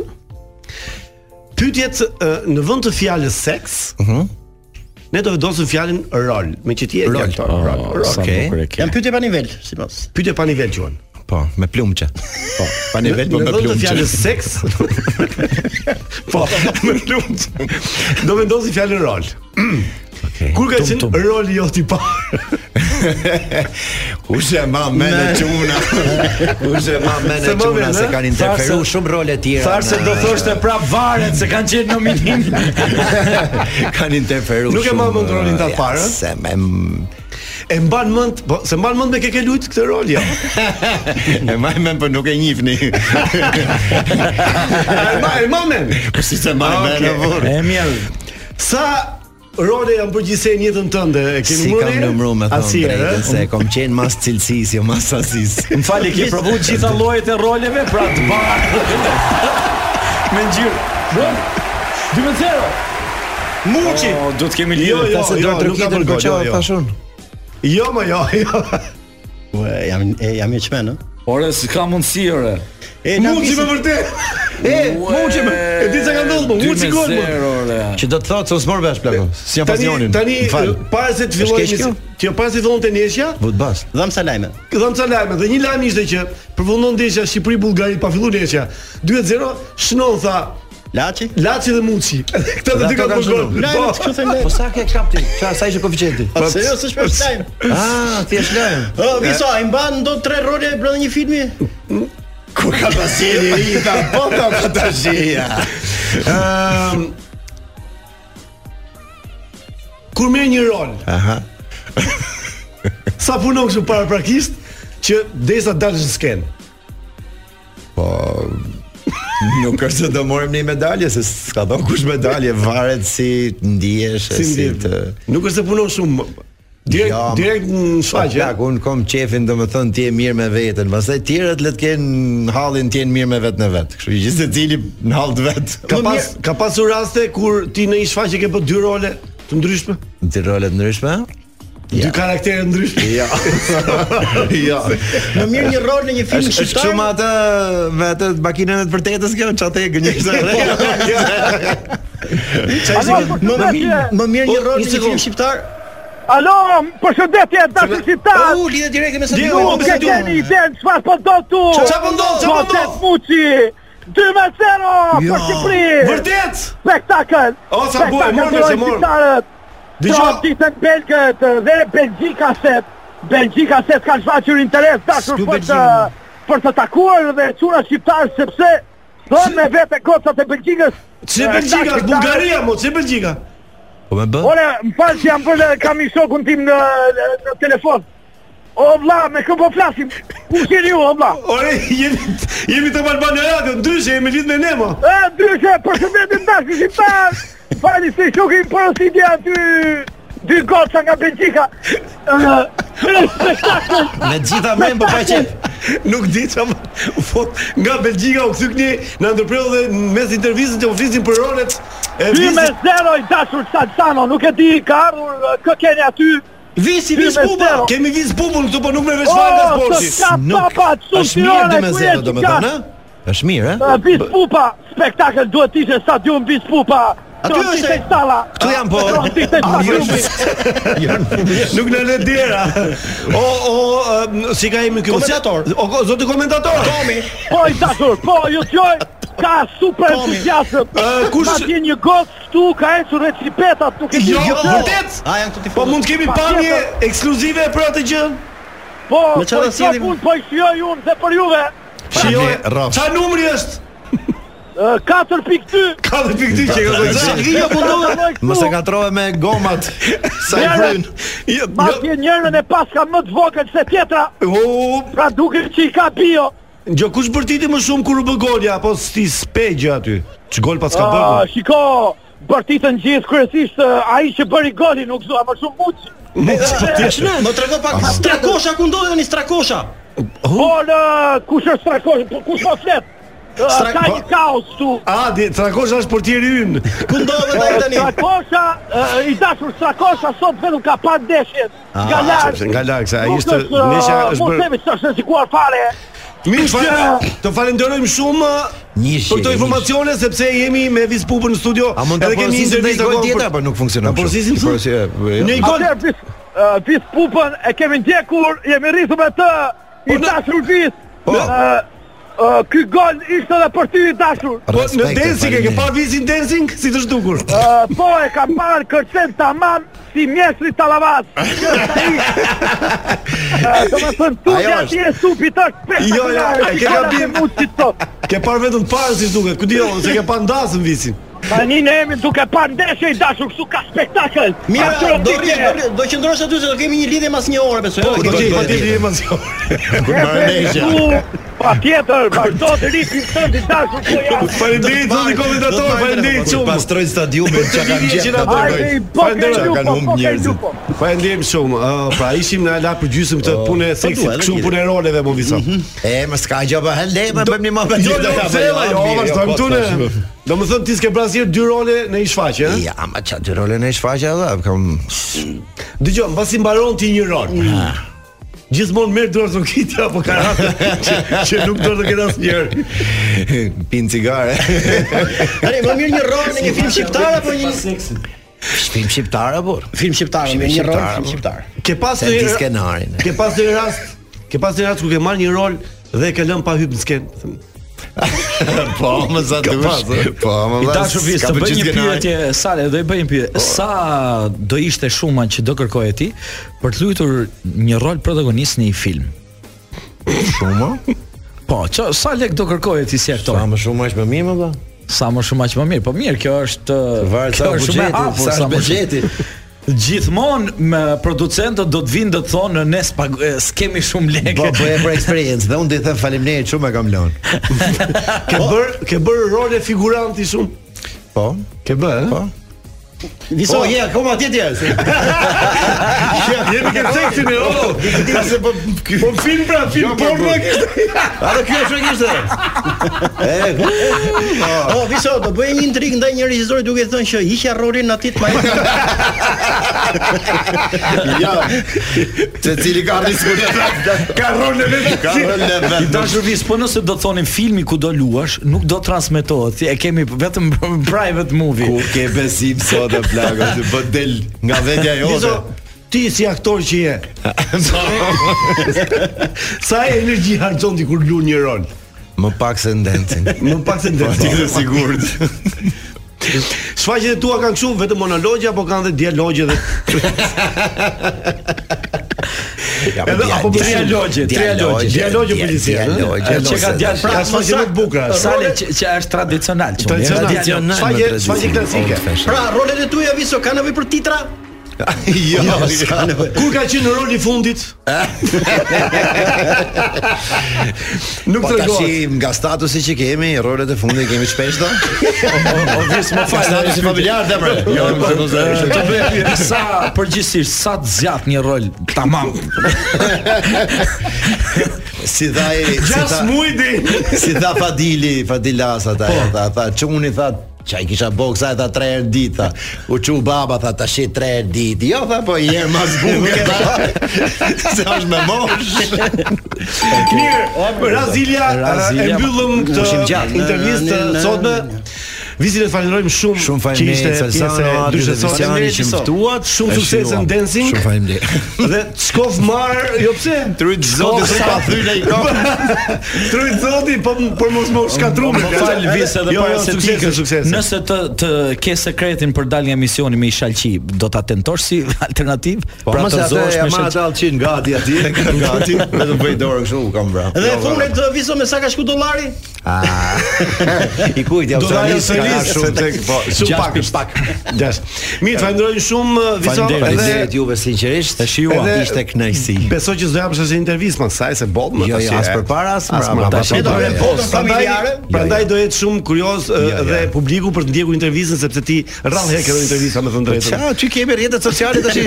Speaker 8: pyetjet ë, në vend të fjalës seks,
Speaker 4: Mhm.
Speaker 8: ne do vendosim fjalën rol, me që ti e
Speaker 4: Rol.
Speaker 8: fjalë.
Speaker 4: Oh, sa bukur e ke. Janë
Speaker 8: pyetje pa nivel, sipas. Pyetje pa nivel quhen.
Speaker 4: Po, me plumqe. Po, pa
Speaker 8: Në-
Speaker 4: nivel po
Speaker 8: në
Speaker 4: me
Speaker 8: vend të
Speaker 4: plumqe.
Speaker 8: fjalës seks. po, me plumqe. Do vendosim fjalën rol.
Speaker 4: Okej.
Speaker 8: Kur ka qenë roli jot i parë?
Speaker 4: Kush e ma me në
Speaker 8: Me-
Speaker 4: çuna? Kush e ma me në
Speaker 9: Se më
Speaker 4: çuna
Speaker 9: vjen,
Speaker 4: se
Speaker 9: ë?
Speaker 4: kanë interferu
Speaker 9: Tharse-
Speaker 4: shumë role tjera.
Speaker 9: Tharë se
Speaker 4: në-
Speaker 9: do thoshte prap varet se kanë qenë nominim.
Speaker 4: kanë interferu
Speaker 8: Nuk e
Speaker 4: shumë,
Speaker 8: marr mend rolin ta
Speaker 4: ja,
Speaker 8: parë, ë?
Speaker 4: Se me m-
Speaker 8: E mban mend, po se mban mend me ke ke lut këtë rol jo. ja.
Speaker 4: e maj men për nuk e njifni.
Speaker 8: E ma, e ma men.
Speaker 4: Po si se maj men
Speaker 8: Okej.
Speaker 4: në vurr.
Speaker 9: E mirë.
Speaker 8: Sa role janë përgjithsej në jetën tënde? E ke
Speaker 4: Si kam numëru me thonë
Speaker 8: Asnjëherë, eh?
Speaker 4: drejtën
Speaker 8: ë?
Speaker 4: se kom qenë mas cilësis, jo mas asis
Speaker 9: Më fali, ke provu gjitha llojet e roleve, pra të barë. me ngjyrë. Bro, 2-0.
Speaker 8: Muçi.
Speaker 9: O, do të Oh, kemi lidhje.
Speaker 8: Jo, jo,
Speaker 4: se
Speaker 8: jo,
Speaker 4: do të
Speaker 8: nuk ka
Speaker 4: rëkitën
Speaker 8: bërë gol,
Speaker 4: goqa
Speaker 8: jo, jo.
Speaker 4: tash unë.
Speaker 8: Jo, më jo, jo.
Speaker 10: Ua, jam Po, e jam i çmen, ë.
Speaker 9: Ore, s'ka mundësi, ore.
Speaker 10: E na
Speaker 8: Muçi
Speaker 10: visi-
Speaker 8: me vërtet. E, muçi me. E di çka ka ndodhur, po muçi gol. mo.
Speaker 9: 2-0, ore.
Speaker 4: Që do të thotë se s'mor vesh plako. Si jam
Speaker 8: Tani
Speaker 4: pasionin.
Speaker 8: tani
Speaker 4: Më fal.
Speaker 8: e, para se
Speaker 4: Është
Speaker 8: të fillojë
Speaker 4: keq kjo?
Speaker 8: ti para se të fillon tenishja,
Speaker 4: Vut bas.
Speaker 10: Dham salajme.
Speaker 8: dham ca lajme dhe një lajm ishte që përfundon ndeshja Shqipëri Bullgari pa filluar ndeshja 2-0, shnon tha
Speaker 10: Laçi.
Speaker 8: Laci dhe Muçi. Këta të dy
Speaker 4: ato
Speaker 8: kanë
Speaker 4: kanë
Speaker 8: bërë gol.
Speaker 4: shënuar.
Speaker 10: Lajme,
Speaker 8: Po.
Speaker 10: të kështu them.
Speaker 4: Po sa ke kapti? Çfarë sa ishte koeficienti?
Speaker 10: Po seriozisht është për lajm.
Speaker 4: Ah, thjesht lajm.
Speaker 10: Ë, Viso, ai mban do tre role brenda një filmi?
Speaker 4: Ku ka pasieni i ta bota pa tashia.
Speaker 8: Ëm Kur merr një rol,
Speaker 4: Aha.
Speaker 8: sa punon kështu paraprakisht që derisa dalësh në skenë.
Speaker 4: Po Nuk është se do morëm një medalje, se s'ka dhënë kush medalje, varet si ndihesh, e
Speaker 8: Si
Speaker 4: si
Speaker 8: ndjen?
Speaker 4: të...
Speaker 8: Nuk është se punon shumë. Direkt
Speaker 4: Ja, Po,
Speaker 8: direkt në shfaqje.
Speaker 4: Plak, unë kom qefin do më thënë ti je mirë me veten, pastaj tjerët le të kenë hallin ti je mirë me vetë në vetë. Kështu që gjithë secili në hall të vet.
Speaker 8: Ka pas ka pasur raste kur ti në një shfaqje ke bërë dy role të ndryshme,
Speaker 4: ti role të ndryshme?
Speaker 8: dy karaktere të ndryshme.
Speaker 4: Ja. ja.
Speaker 10: Më mirë një rol në një film
Speaker 4: Është është kështu me atë me atë makinën e të vërtetës kjo, çatë e gënjeshtër.
Speaker 10: Alo, Më më mirë, më mirë një
Speaker 8: O,
Speaker 10: rol
Speaker 8: Po, një
Speaker 10: në një
Speaker 8: sekundë.
Speaker 10: film shqiptar.
Speaker 11: Alo, përshëndetje dashur shqiptar.
Speaker 10: U lidhet direkt me
Speaker 8: Direkt,
Speaker 10: Sadiu.
Speaker 11: Ju
Speaker 8: po,
Speaker 11: nuk e
Speaker 8: Sadiu.
Speaker 11: keni idenë çfarë po do tu.
Speaker 8: Çfarë po ndodh, çfarë po ndodh? Jo.
Speaker 11: Motet Muçi. 2-0 për Shqipëri.
Speaker 8: Vërtet?
Speaker 11: Spektakël.
Speaker 8: O, sa buaj,
Speaker 11: Spektakël
Speaker 8: morëm,
Speaker 11: durojnë
Speaker 8: se morëm.
Speaker 11: shqiptarët. Pra,
Speaker 8: Dgjoj.
Speaker 11: Dëgjoj ditën belgët dhe Belgjika set. Belgjika set kanë shfaqur interes dashur
Speaker 4: S'lu
Speaker 11: për të
Speaker 4: Belgjikën.
Speaker 11: për të takuar dhe çuna shqiptar sepse thonë me vete gocat e Belgjikës.
Speaker 8: Si
Speaker 11: eh,
Speaker 8: Belgjika,
Speaker 11: shqiptarët-
Speaker 8: Bullgaria, mo, si Belgjika.
Speaker 4: Po më bë?
Speaker 11: Ore, më falë që jam bërë, kam i shokun tim në, në telefon. O, vla, me kë po flasim? Ku shiri ju, o, vla?
Speaker 8: Ore, jemi jemi të Albania Radio, ndryshe jemi lidh me ne, mo.
Speaker 11: E, ndryshe, për shëndetin dashkë shqiptar! Fali se i shokin porositja aty... Dy goca nga Belgjika.
Speaker 4: Me gjitha men po pa qef.
Speaker 8: Nuk di çfarë. u fut nga Belgjika u kthykni në ndërprerje dhe në mes intervistës që u flisin për rolet e
Speaker 11: Dy me
Speaker 8: visit.
Speaker 11: zero i dashur Salsano, nuk e di ka ardhur eh, kë keni aty.
Speaker 8: Visi
Speaker 11: dy
Speaker 8: vis
Speaker 11: me
Speaker 8: buba,
Speaker 11: zero.
Speaker 8: kemi vis bubun këtu po nuk më vesh
Speaker 10: Oh,
Speaker 11: O,
Speaker 8: fare nga
Speaker 11: të
Speaker 8: sporti.
Speaker 11: ska papa, të
Speaker 4: Është mirë
Speaker 11: sushirone,
Speaker 4: dhe me
Speaker 11: ku
Speaker 4: zero
Speaker 11: jetë
Speaker 4: domethënë, ë? Është mirë, ë?
Speaker 11: Bis Pupa, spektakël duhet ishte stadium Bis Pupa.
Speaker 4: Aty
Speaker 11: Tronti
Speaker 4: është-
Speaker 11: te shtalla.
Speaker 4: Këtu jam, po.
Speaker 11: Tronti te stadiumi.
Speaker 8: Nuk në le dera. O o um, si ka emri ky komentator? O ko- zoti komentator. Tomi.
Speaker 11: Po i dashur, po ju qoj ka super
Speaker 4: Po,
Speaker 11: entuziazëm.
Speaker 8: Ë, kush-
Speaker 11: Madje një gocë këtu ka ecur recipetat, nuk e di.
Speaker 8: Jo,
Speaker 11: gjë tjetër.
Speaker 8: vërtet?
Speaker 10: A janë këtu ti?
Speaker 8: Po mund të kemi pamje ekskluzive për atë gjë.
Speaker 11: Po,
Speaker 10: me çfarë
Speaker 11: po i shoh
Speaker 10: sjellim?
Speaker 11: unë, po i shijoj unë dhe për juve.
Speaker 8: Shijoj.
Speaker 4: Ne, rraf.
Speaker 8: Çfarë numri është?
Speaker 11: Ë, 4.2.
Speaker 8: 4.2
Speaker 10: Jo,
Speaker 8: që ka
Speaker 4: Çfarë
Speaker 8: thënë.
Speaker 4: vija po do?
Speaker 11: Kaloj këtu.
Speaker 4: Mos e katrove me gomat. Sa i
Speaker 11: Merë.
Speaker 4: vryn.
Speaker 8: Jo, jo.
Speaker 11: Madje njërën e pas ka më të vogël se tjetra,
Speaker 8: O,
Speaker 11: pra duket që i ka bio.
Speaker 8: Jo, kush bërtiti më shumë kur u bë golja apo sti spegj aty? Ç'gol pas ka bërë?
Speaker 11: Ah,
Speaker 8: mo?
Speaker 11: shiko, bërtitën gjithë kryesisht ë, ai që bëri golin, nuk zua më shumë muçi.
Speaker 10: Më trego pak
Speaker 8: Ah.
Speaker 10: strakosha ku ndodhet tani strakosha.
Speaker 11: Po në kush është strakosh, po kush po flet? Ë,
Speaker 10: Strak-
Speaker 11: Ka një kaos
Speaker 8: Po-
Speaker 11: tu.
Speaker 8: A, di, Trakosha është portieri ynë.
Speaker 10: Ku ndodhet ai tani?
Speaker 11: Strakosha, ë, i dashur Strakosha sot vetëm ka pa
Speaker 4: Ah,
Speaker 11: ndeshjet. Nga
Speaker 8: Ah, Nga
Speaker 11: larg.
Speaker 8: laksa, ai
Speaker 11: Nuk
Speaker 8: ishte
Speaker 11: ë,
Speaker 8: nesha është
Speaker 11: Mos
Speaker 8: bërë.
Speaker 11: themi se është e sikuar fare.
Speaker 8: Mirë, fa- të falenderojmë shumë uh, për këto informacione sepse jemi me Vis Pupën në studio.
Speaker 4: A mund ta
Speaker 8: edhe kemi një
Speaker 4: porosisim dhe i
Speaker 8: intervistë
Speaker 4: gol
Speaker 8: akoma
Speaker 4: tjetër, apo nuk funksionon
Speaker 8: Ta
Speaker 4: kështu?
Speaker 8: porosisim
Speaker 4: Ta porosi- e, po, jo.
Speaker 8: Një gol.
Speaker 11: Atëherë vis, uh, vis pupën e kemi ndjekur, jemi rritur me të, i dashur vis. Po. ky gol ishte edhe për ty i dashur.
Speaker 8: Po në dancing e ke parë Visin dancing si të zhdukur.
Speaker 11: Ë, po e kam parë kërcen tamam si mjesri talavas. Do të thënë tu
Speaker 8: Ajo është.
Speaker 11: atje e supi të
Speaker 8: Jo, jo, e ke gabim. Ke parë vetëm parë si duket. Ku diu se ke pa ndasën Visin.
Speaker 11: Tani ne jemi duke parë ndeshje i dashur këtu ka spektakël.
Speaker 10: Mirë, do rri, do
Speaker 11: rri,
Speaker 10: rri- do qëndrosh aty se do kemi një lidhje mas një ore besoj.
Speaker 8: Po, do
Speaker 10: Okej,
Speaker 8: të
Speaker 10: do-
Speaker 8: patjetër jemi
Speaker 10: Kur marrë ndeshja.
Speaker 11: Pa tjetër, vazhdo të rritim tënd i dashur po ku
Speaker 8: Po,
Speaker 11: jam.
Speaker 8: Faleminderit zotë komentator, faleminderit shumë.
Speaker 4: Pastroj stadiumin çka kanë
Speaker 8: Lidhje që na
Speaker 4: gjetur.
Speaker 8: bëjnë. Faleminderit.
Speaker 4: Çka kanë humb njerëzit.
Speaker 8: Faleminderit shumë. Ë, pra ishim në ala për gjysmë këtë
Speaker 4: Po,
Speaker 8: punë
Speaker 4: po,
Speaker 8: seksi,
Speaker 4: duhet, Mhm.
Speaker 8: kështu
Speaker 4: duhet.
Speaker 8: punë roleve më visa.
Speaker 4: E, më s'ka gjë
Speaker 10: po,
Speaker 4: pa hele, më bëjmë një mohabet
Speaker 8: Jo,
Speaker 4: tjetër,
Speaker 8: jo,
Speaker 4: apo
Speaker 8: pse,
Speaker 4: jo,
Speaker 8: jo,
Speaker 4: mirë,
Speaker 8: vazhdojmë
Speaker 4: po,
Speaker 8: këtu
Speaker 4: tash,
Speaker 8: ne. Domethënë ti s'ke brazir dy role në një shfaqje, ëh?
Speaker 4: Ja, ama çfarë dy role në një shfaqje edhe kam
Speaker 8: Dgjoj, mbasi mbaron ti një rol.
Speaker 4: Mm.
Speaker 8: Gjithmonë merr dorëzokitja apo karate që, që nuk do të ketë asnjëherë.
Speaker 4: pin cigare.
Speaker 10: Tani më mirë një rol në një film shqiptar apo një
Speaker 4: Film shqiptar apo?
Speaker 10: film shqiptar, më mirë një rol film shqiptar.
Speaker 8: Ke pas
Speaker 4: Se
Speaker 8: një
Speaker 4: di skenarin.
Speaker 8: Ke pas një rast, ke pas një rast ku ke marrë një rol dhe e ke lënë pa hyrë në skenë.
Speaker 4: Po, më sa
Speaker 8: Ka
Speaker 4: dush.
Speaker 8: pas, e?
Speaker 4: Po, më
Speaker 9: I
Speaker 4: vaz,
Speaker 9: dashur vis,
Speaker 4: s'ka
Speaker 9: të bëj
Speaker 4: pëlqyer
Speaker 9: një
Speaker 4: skenarin.
Speaker 9: pyetje, Sale, do i bëj një pyetje.
Speaker 4: Po.
Speaker 9: Sa do ishte shuma që do kërkoje ti për të luajtur një rol protagonist në një film?
Speaker 4: Shumë?
Speaker 9: Po, që, sa lek do kërkoje ti si aktor?
Speaker 4: Sa më shumë aq më mirë më valla.
Speaker 9: Sa më shumë aq më mirë. Po mirë, kjo është
Speaker 4: Varet sa
Speaker 9: kjo është shumë e
Speaker 4: buxheti, po,
Speaker 9: hapur,
Speaker 4: sa
Speaker 9: më
Speaker 4: është
Speaker 9: shumë.
Speaker 4: buxheti.
Speaker 9: Gjithmonë me producentët do të vinë do të thonë ne spag- e, s'kemi shumë
Speaker 4: Po,
Speaker 9: lekë.
Speaker 4: po e për eksperiencë dhe unë do i them faleminderit shumë e kam lënë.
Speaker 8: Ke bër, ke bër role figuranti shumë.
Speaker 4: Po.
Speaker 8: Ke bër, eh? ëh?
Speaker 4: Po.
Speaker 10: Viso,
Speaker 4: Po, je akoma atje tjerë.
Speaker 8: Jemi ke seksin e oh.
Speaker 4: Ka se po ky.
Speaker 8: Po film pra, film
Speaker 4: Jo, po,
Speaker 8: porno
Speaker 4: po.
Speaker 8: kishte.
Speaker 4: A do ky është kishte? Eh, po.
Speaker 10: Oh, Viso, do bëj një intrigë ndaj një regjisori duke thënë që hiqja rolin atit më.
Speaker 4: Ja. Se cili ka rrisku të trajtë.
Speaker 8: Ka role vetë.
Speaker 4: Ka rënë
Speaker 9: I
Speaker 4: vetë.
Speaker 9: dashur vis, po nëse do të thonin filmi ku do luash, nuk do transmetohet. E kemi vetëm private movie.
Speaker 4: Ku ke besim sot e plagë, të bë del nga vetja jote.
Speaker 8: Vizo, ti si aktor që je. Sa energji harxhon ti kur luan një rol?
Speaker 4: Më pak se ndencin. Po,
Speaker 8: Më pak se ndërti.
Speaker 4: Ti je sigurt.
Speaker 8: Shfaqjet e tua kanë kështu vetëm monologje apo kanë edhe dialogje dhe
Speaker 4: Ja,
Speaker 8: Edhe apo
Speaker 4: dia-
Speaker 9: trialogje, trialogje.
Speaker 8: dialogje
Speaker 4: dia-
Speaker 8: policie?
Speaker 4: dialogje.
Speaker 8: ëh?
Speaker 9: Dialogje. Që ka djalë pra,
Speaker 8: Ka shfaqje më të bukura.
Speaker 9: Sale që, që është tradicional. që unë jam
Speaker 8: Tradicional.
Speaker 9: tradicional.
Speaker 4: Tradicional,
Speaker 8: Shfaqje-
Speaker 4: më
Speaker 8: shfaqje
Speaker 4: tradicional,
Speaker 8: klasike.
Speaker 4: old fashion.
Speaker 10: Pra, rolet e tua Viso kanë nevojë për titra?
Speaker 4: Jo, s'ka nevojë.
Speaker 8: Kur ka qenë në rol i fundit? Nuk
Speaker 4: Po
Speaker 8: tregohet.
Speaker 4: tash nga statusi që kemi, rolet e fundit kemi të shpeshta.
Speaker 9: O vis më fal.
Speaker 4: Statusi familjar dhe bre. Jo, më nuk është.
Speaker 9: Të bëj sa përgjithsisht sa të zjat një rol tamam.
Speaker 4: Si tha ai, si
Speaker 8: Gjas
Speaker 4: tha,
Speaker 8: muj di.
Speaker 4: si tha Fadili, Fadilas ata,
Speaker 10: Po.
Speaker 4: tha, tha çuni tha Çaj kisha boksa e tha tre herë ditë tha. U çu baba tha tash tre herë ditë. Jo tha po një herë mas bukur tha. Se është me mosh.
Speaker 8: Mirë, Razilia, e
Speaker 9: Razilia,
Speaker 8: mbyllëm
Speaker 4: pushim
Speaker 8: këtë
Speaker 4: gjatë.
Speaker 8: intervistë
Speaker 10: Në, në, në,
Speaker 8: sotme. Visin e falenderojmë shumë
Speaker 4: Shumë
Speaker 8: që ishte
Speaker 4: faleminderit
Speaker 8: pjesë e
Speaker 4: Salsano, Adri
Speaker 8: dyshesore.
Speaker 4: Visiani që më ftuat.
Speaker 8: Shumë
Speaker 4: E
Speaker 8: sukses
Speaker 4: shijuam.
Speaker 8: në dancing.
Speaker 4: Shumë faleminderit.
Speaker 8: Dhe Skov Mar, jo pse?
Speaker 4: Trujt zotit se pa thyr ai kokë.
Speaker 8: Trujt zoti, po për mos më
Speaker 4: Po,
Speaker 8: shkatrumi.
Speaker 9: Më fal vis edhe
Speaker 8: Jo,
Speaker 9: para
Speaker 8: jo,
Speaker 9: se të
Speaker 8: suksese, suksese.
Speaker 9: Nëse të të ke sekretin për dalë nga misioni me i shalqi, do ta tentosh si alternativ?
Speaker 4: Po
Speaker 8: Pra
Speaker 4: mos atë
Speaker 9: zohesh
Speaker 4: ja
Speaker 9: me shalqi.
Speaker 4: marr atë alçin gati atje, gati, vetëm bëj dorë kështu u kam vrap.
Speaker 10: Dhe funet uh, Viso me sa ka shku dollari?
Speaker 4: po, jo, Ah. I kujt ja
Speaker 8: Do të
Speaker 4: Australis
Speaker 8: se
Speaker 4: ka dalë
Speaker 8: shumë
Speaker 4: shumë
Speaker 8: tek po, shumë pak, shumë pak. Gjash. Mirë, falenderoj shumë Viso edhe
Speaker 4: Faleminderit juve sinqerisht.
Speaker 9: E shijuam.
Speaker 4: Edhe ishte kënaqësi.
Speaker 8: Besoj që do japësh asnjë intervistë më kësaj se boll më eh.
Speaker 4: Jo,
Speaker 8: tash
Speaker 4: jo,
Speaker 8: e-
Speaker 4: as përpara, as mbrapa,
Speaker 8: mbrapa,
Speaker 4: tash
Speaker 8: po,
Speaker 4: e do
Speaker 8: po,
Speaker 4: e
Speaker 8: po,
Speaker 4: postën
Speaker 8: prandaj-
Speaker 4: familjare.
Speaker 8: Prandaj
Speaker 4: Jo, jo.
Speaker 8: do jetë shumë kurioz ë,
Speaker 4: Jo, jo.
Speaker 8: dhe publiku për të ndjekur intervistën sepse ti rrallë herë ke dhënë intervista me thënë drejtën.
Speaker 4: Çfarë, ty kemi rrjetet sociale tash i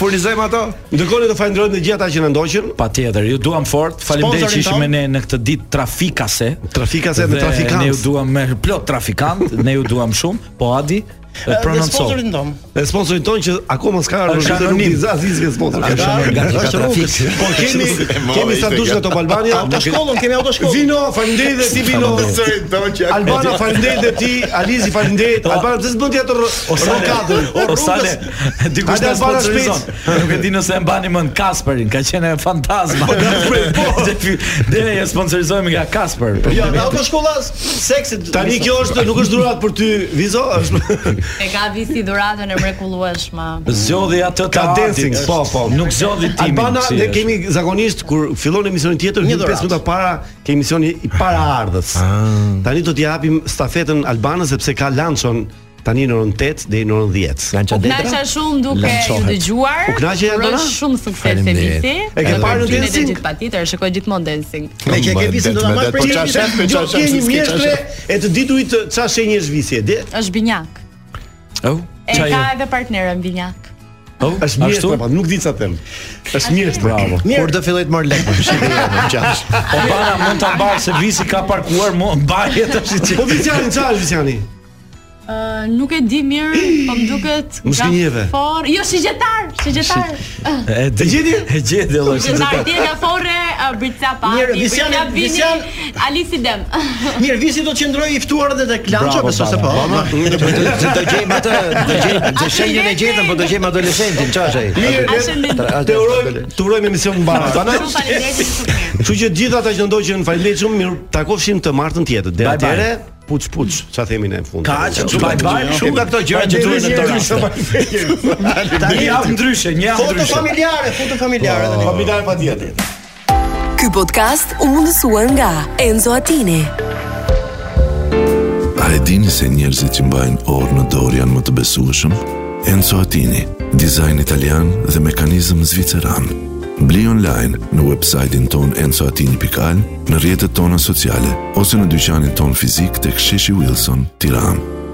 Speaker 4: furnizojmë ato.
Speaker 8: Ndërkohë ne të falenderojmë të gjithë ata që na ndoqën.
Speaker 9: Patjetër, ju duam fort. Faleminderit që
Speaker 4: Sponsorin
Speaker 9: ishim
Speaker 4: ton.
Speaker 9: me ne në këtë ditë trafikase.
Speaker 8: Trafikase dhe
Speaker 9: Ne ju
Speaker 8: trafikantë.
Speaker 9: duam me plot trafikant, ne ju duam shumë. Po Adi, E prononcon.
Speaker 10: sponsorin ton.
Speaker 8: Dhe sponsorin ton që akoma s'ka
Speaker 9: Është
Speaker 8: ardhur nuk
Speaker 9: anonim.
Speaker 8: i za zizve sponsor.
Speaker 9: Është anonim, nga
Speaker 8: Është
Speaker 9: Gjika
Speaker 8: rrugës.
Speaker 9: Trafik.
Speaker 8: Po kemi kemi sa dush nga Top Albania.
Speaker 10: Autoshkollën, kemi autoshkollën.
Speaker 8: Vino, faleminderit dhe ti Vino. Albana faleminderit dhe ti, Alizi faleminderit. Albana pse s'bën ti ato rokadën?
Speaker 9: Osale, dikush
Speaker 8: Hajde,
Speaker 9: na
Speaker 8: Albana,
Speaker 9: sponsorizon. Nuk e di nëse e mbani mend Kasperin, ka qenë e fantazma.
Speaker 8: Po,
Speaker 9: Dere ja sponsorizojmë nga Kasper. për
Speaker 10: Jo,
Speaker 9: këtë
Speaker 10: nga
Speaker 9: vit.
Speaker 10: autoshkolla seksi.
Speaker 8: Tani kjo është nuk është dhurat për ty, Vizo, është
Speaker 1: E ka visi dhuratën e mrekullueshme.
Speaker 9: Zgjodhi atë të
Speaker 8: Ka
Speaker 9: artit,
Speaker 8: dancing,
Speaker 9: është-
Speaker 8: po, po.
Speaker 9: Nuk zgjodhi timin.
Speaker 8: Albana
Speaker 9: si
Speaker 8: ne
Speaker 9: është.
Speaker 8: kemi zakonisht kur fillon emisioni tjetër,
Speaker 9: Një
Speaker 8: një 5
Speaker 9: dhurat.
Speaker 8: minuta para ke emisioni i para ardhës. Tani do t'i japim stafetën Albanës sepse ka lançon tani në orën 8 deri në orën 10. Lançon
Speaker 1: Knaqja shumë duke ju dëgjuar.
Speaker 8: U knaqja
Speaker 1: Uroj
Speaker 8: Albana?
Speaker 1: Shumë sukses e
Speaker 8: Faleminderit.
Speaker 1: viti.
Speaker 8: E ke parë në dancing?
Speaker 1: Gjithë patjetër, shikoj gjithmonë dancing.
Speaker 8: Me
Speaker 4: që e ke Më visin do ta det, marr me det, për po çfarë
Speaker 8: çfarë
Speaker 4: shenjë,
Speaker 8: me
Speaker 4: me
Speaker 8: çfarë
Speaker 4: çfarë shenjë,
Speaker 8: shenjë
Speaker 4: s'ke
Speaker 8: mjeshtre e të diturit çfarë shenjë është visje. De?
Speaker 1: Është binjak.
Speaker 9: Oh,
Speaker 1: E ka edhe partnerën binjak.
Speaker 9: Oh,
Speaker 8: është mjeshtre, po nuk di çfarë them. Është mjeshtre. Bravo.
Speaker 4: Kur do filloj të marr lek për shërimin më qash.
Speaker 9: Po para mund ta mbaj se visi ka parkuar mo mbaje tash i
Speaker 8: Po Viciani çfarë është Viciani?
Speaker 1: Ë, nuk e di mirë, po më duket
Speaker 8: Mos gënjeve.
Speaker 1: gafor. Jo, shigjetar, shigjetar. Ë,
Speaker 9: E di-
Speaker 8: gjeti?
Speaker 9: E gjeti vëllai. si
Speaker 1: Shigjetar
Speaker 9: të
Speaker 1: dje nga forre Brica Pati,
Speaker 10: Mirë, Visiani-
Speaker 1: Brica Vini,
Speaker 10: Visian-
Speaker 1: Alisi Dem.
Speaker 10: Mirë, visi do të qëndrojë i ftuar edhe tek Lanço,
Speaker 4: Bravo,
Speaker 10: besoj se po.
Speaker 4: bravo. Do do gjejmë atë, do gjejmë të
Speaker 1: Atë
Speaker 4: shenjën e
Speaker 1: lepi-
Speaker 4: gjetëm, po do gjejmë adoleshentin, çfarë është ai?
Speaker 8: Mirë,
Speaker 1: Ashen Bindi.
Speaker 8: ne- të urojmë, të urojmë emision në barë.
Speaker 1: Shumë faleminderit, shumë mirë.
Speaker 8: Kështu që gjithë ata që ndoqën faleminderit shumë mirë. Takofshim të martën tjetër. Deri
Speaker 9: Bye, bye.
Speaker 8: atëherë, puç puç, çfarë themi ne në fund.
Speaker 9: Kaq, bye bye, shumë nga këto gjëra që duhen në këtë rast. Një javë ndryshe, një javë
Speaker 10: Foto
Speaker 9: ndryshe.
Speaker 10: familjare, foto familjare tani.
Speaker 8: Familjare patjetër.
Speaker 12: Ky podcast u mundësua nga Enzo Attini.
Speaker 2: A e dini se njerëzit që mbajnë orë në dorë janë më të besueshëm? Enzo Attini, dizajn italian dhe mekanizëm zviceran. Bli online në websajtin ton enzoatini.al, në rjetët tona sociale, ose në dyqanin ton fizik të ksheshi Wilson, tiran.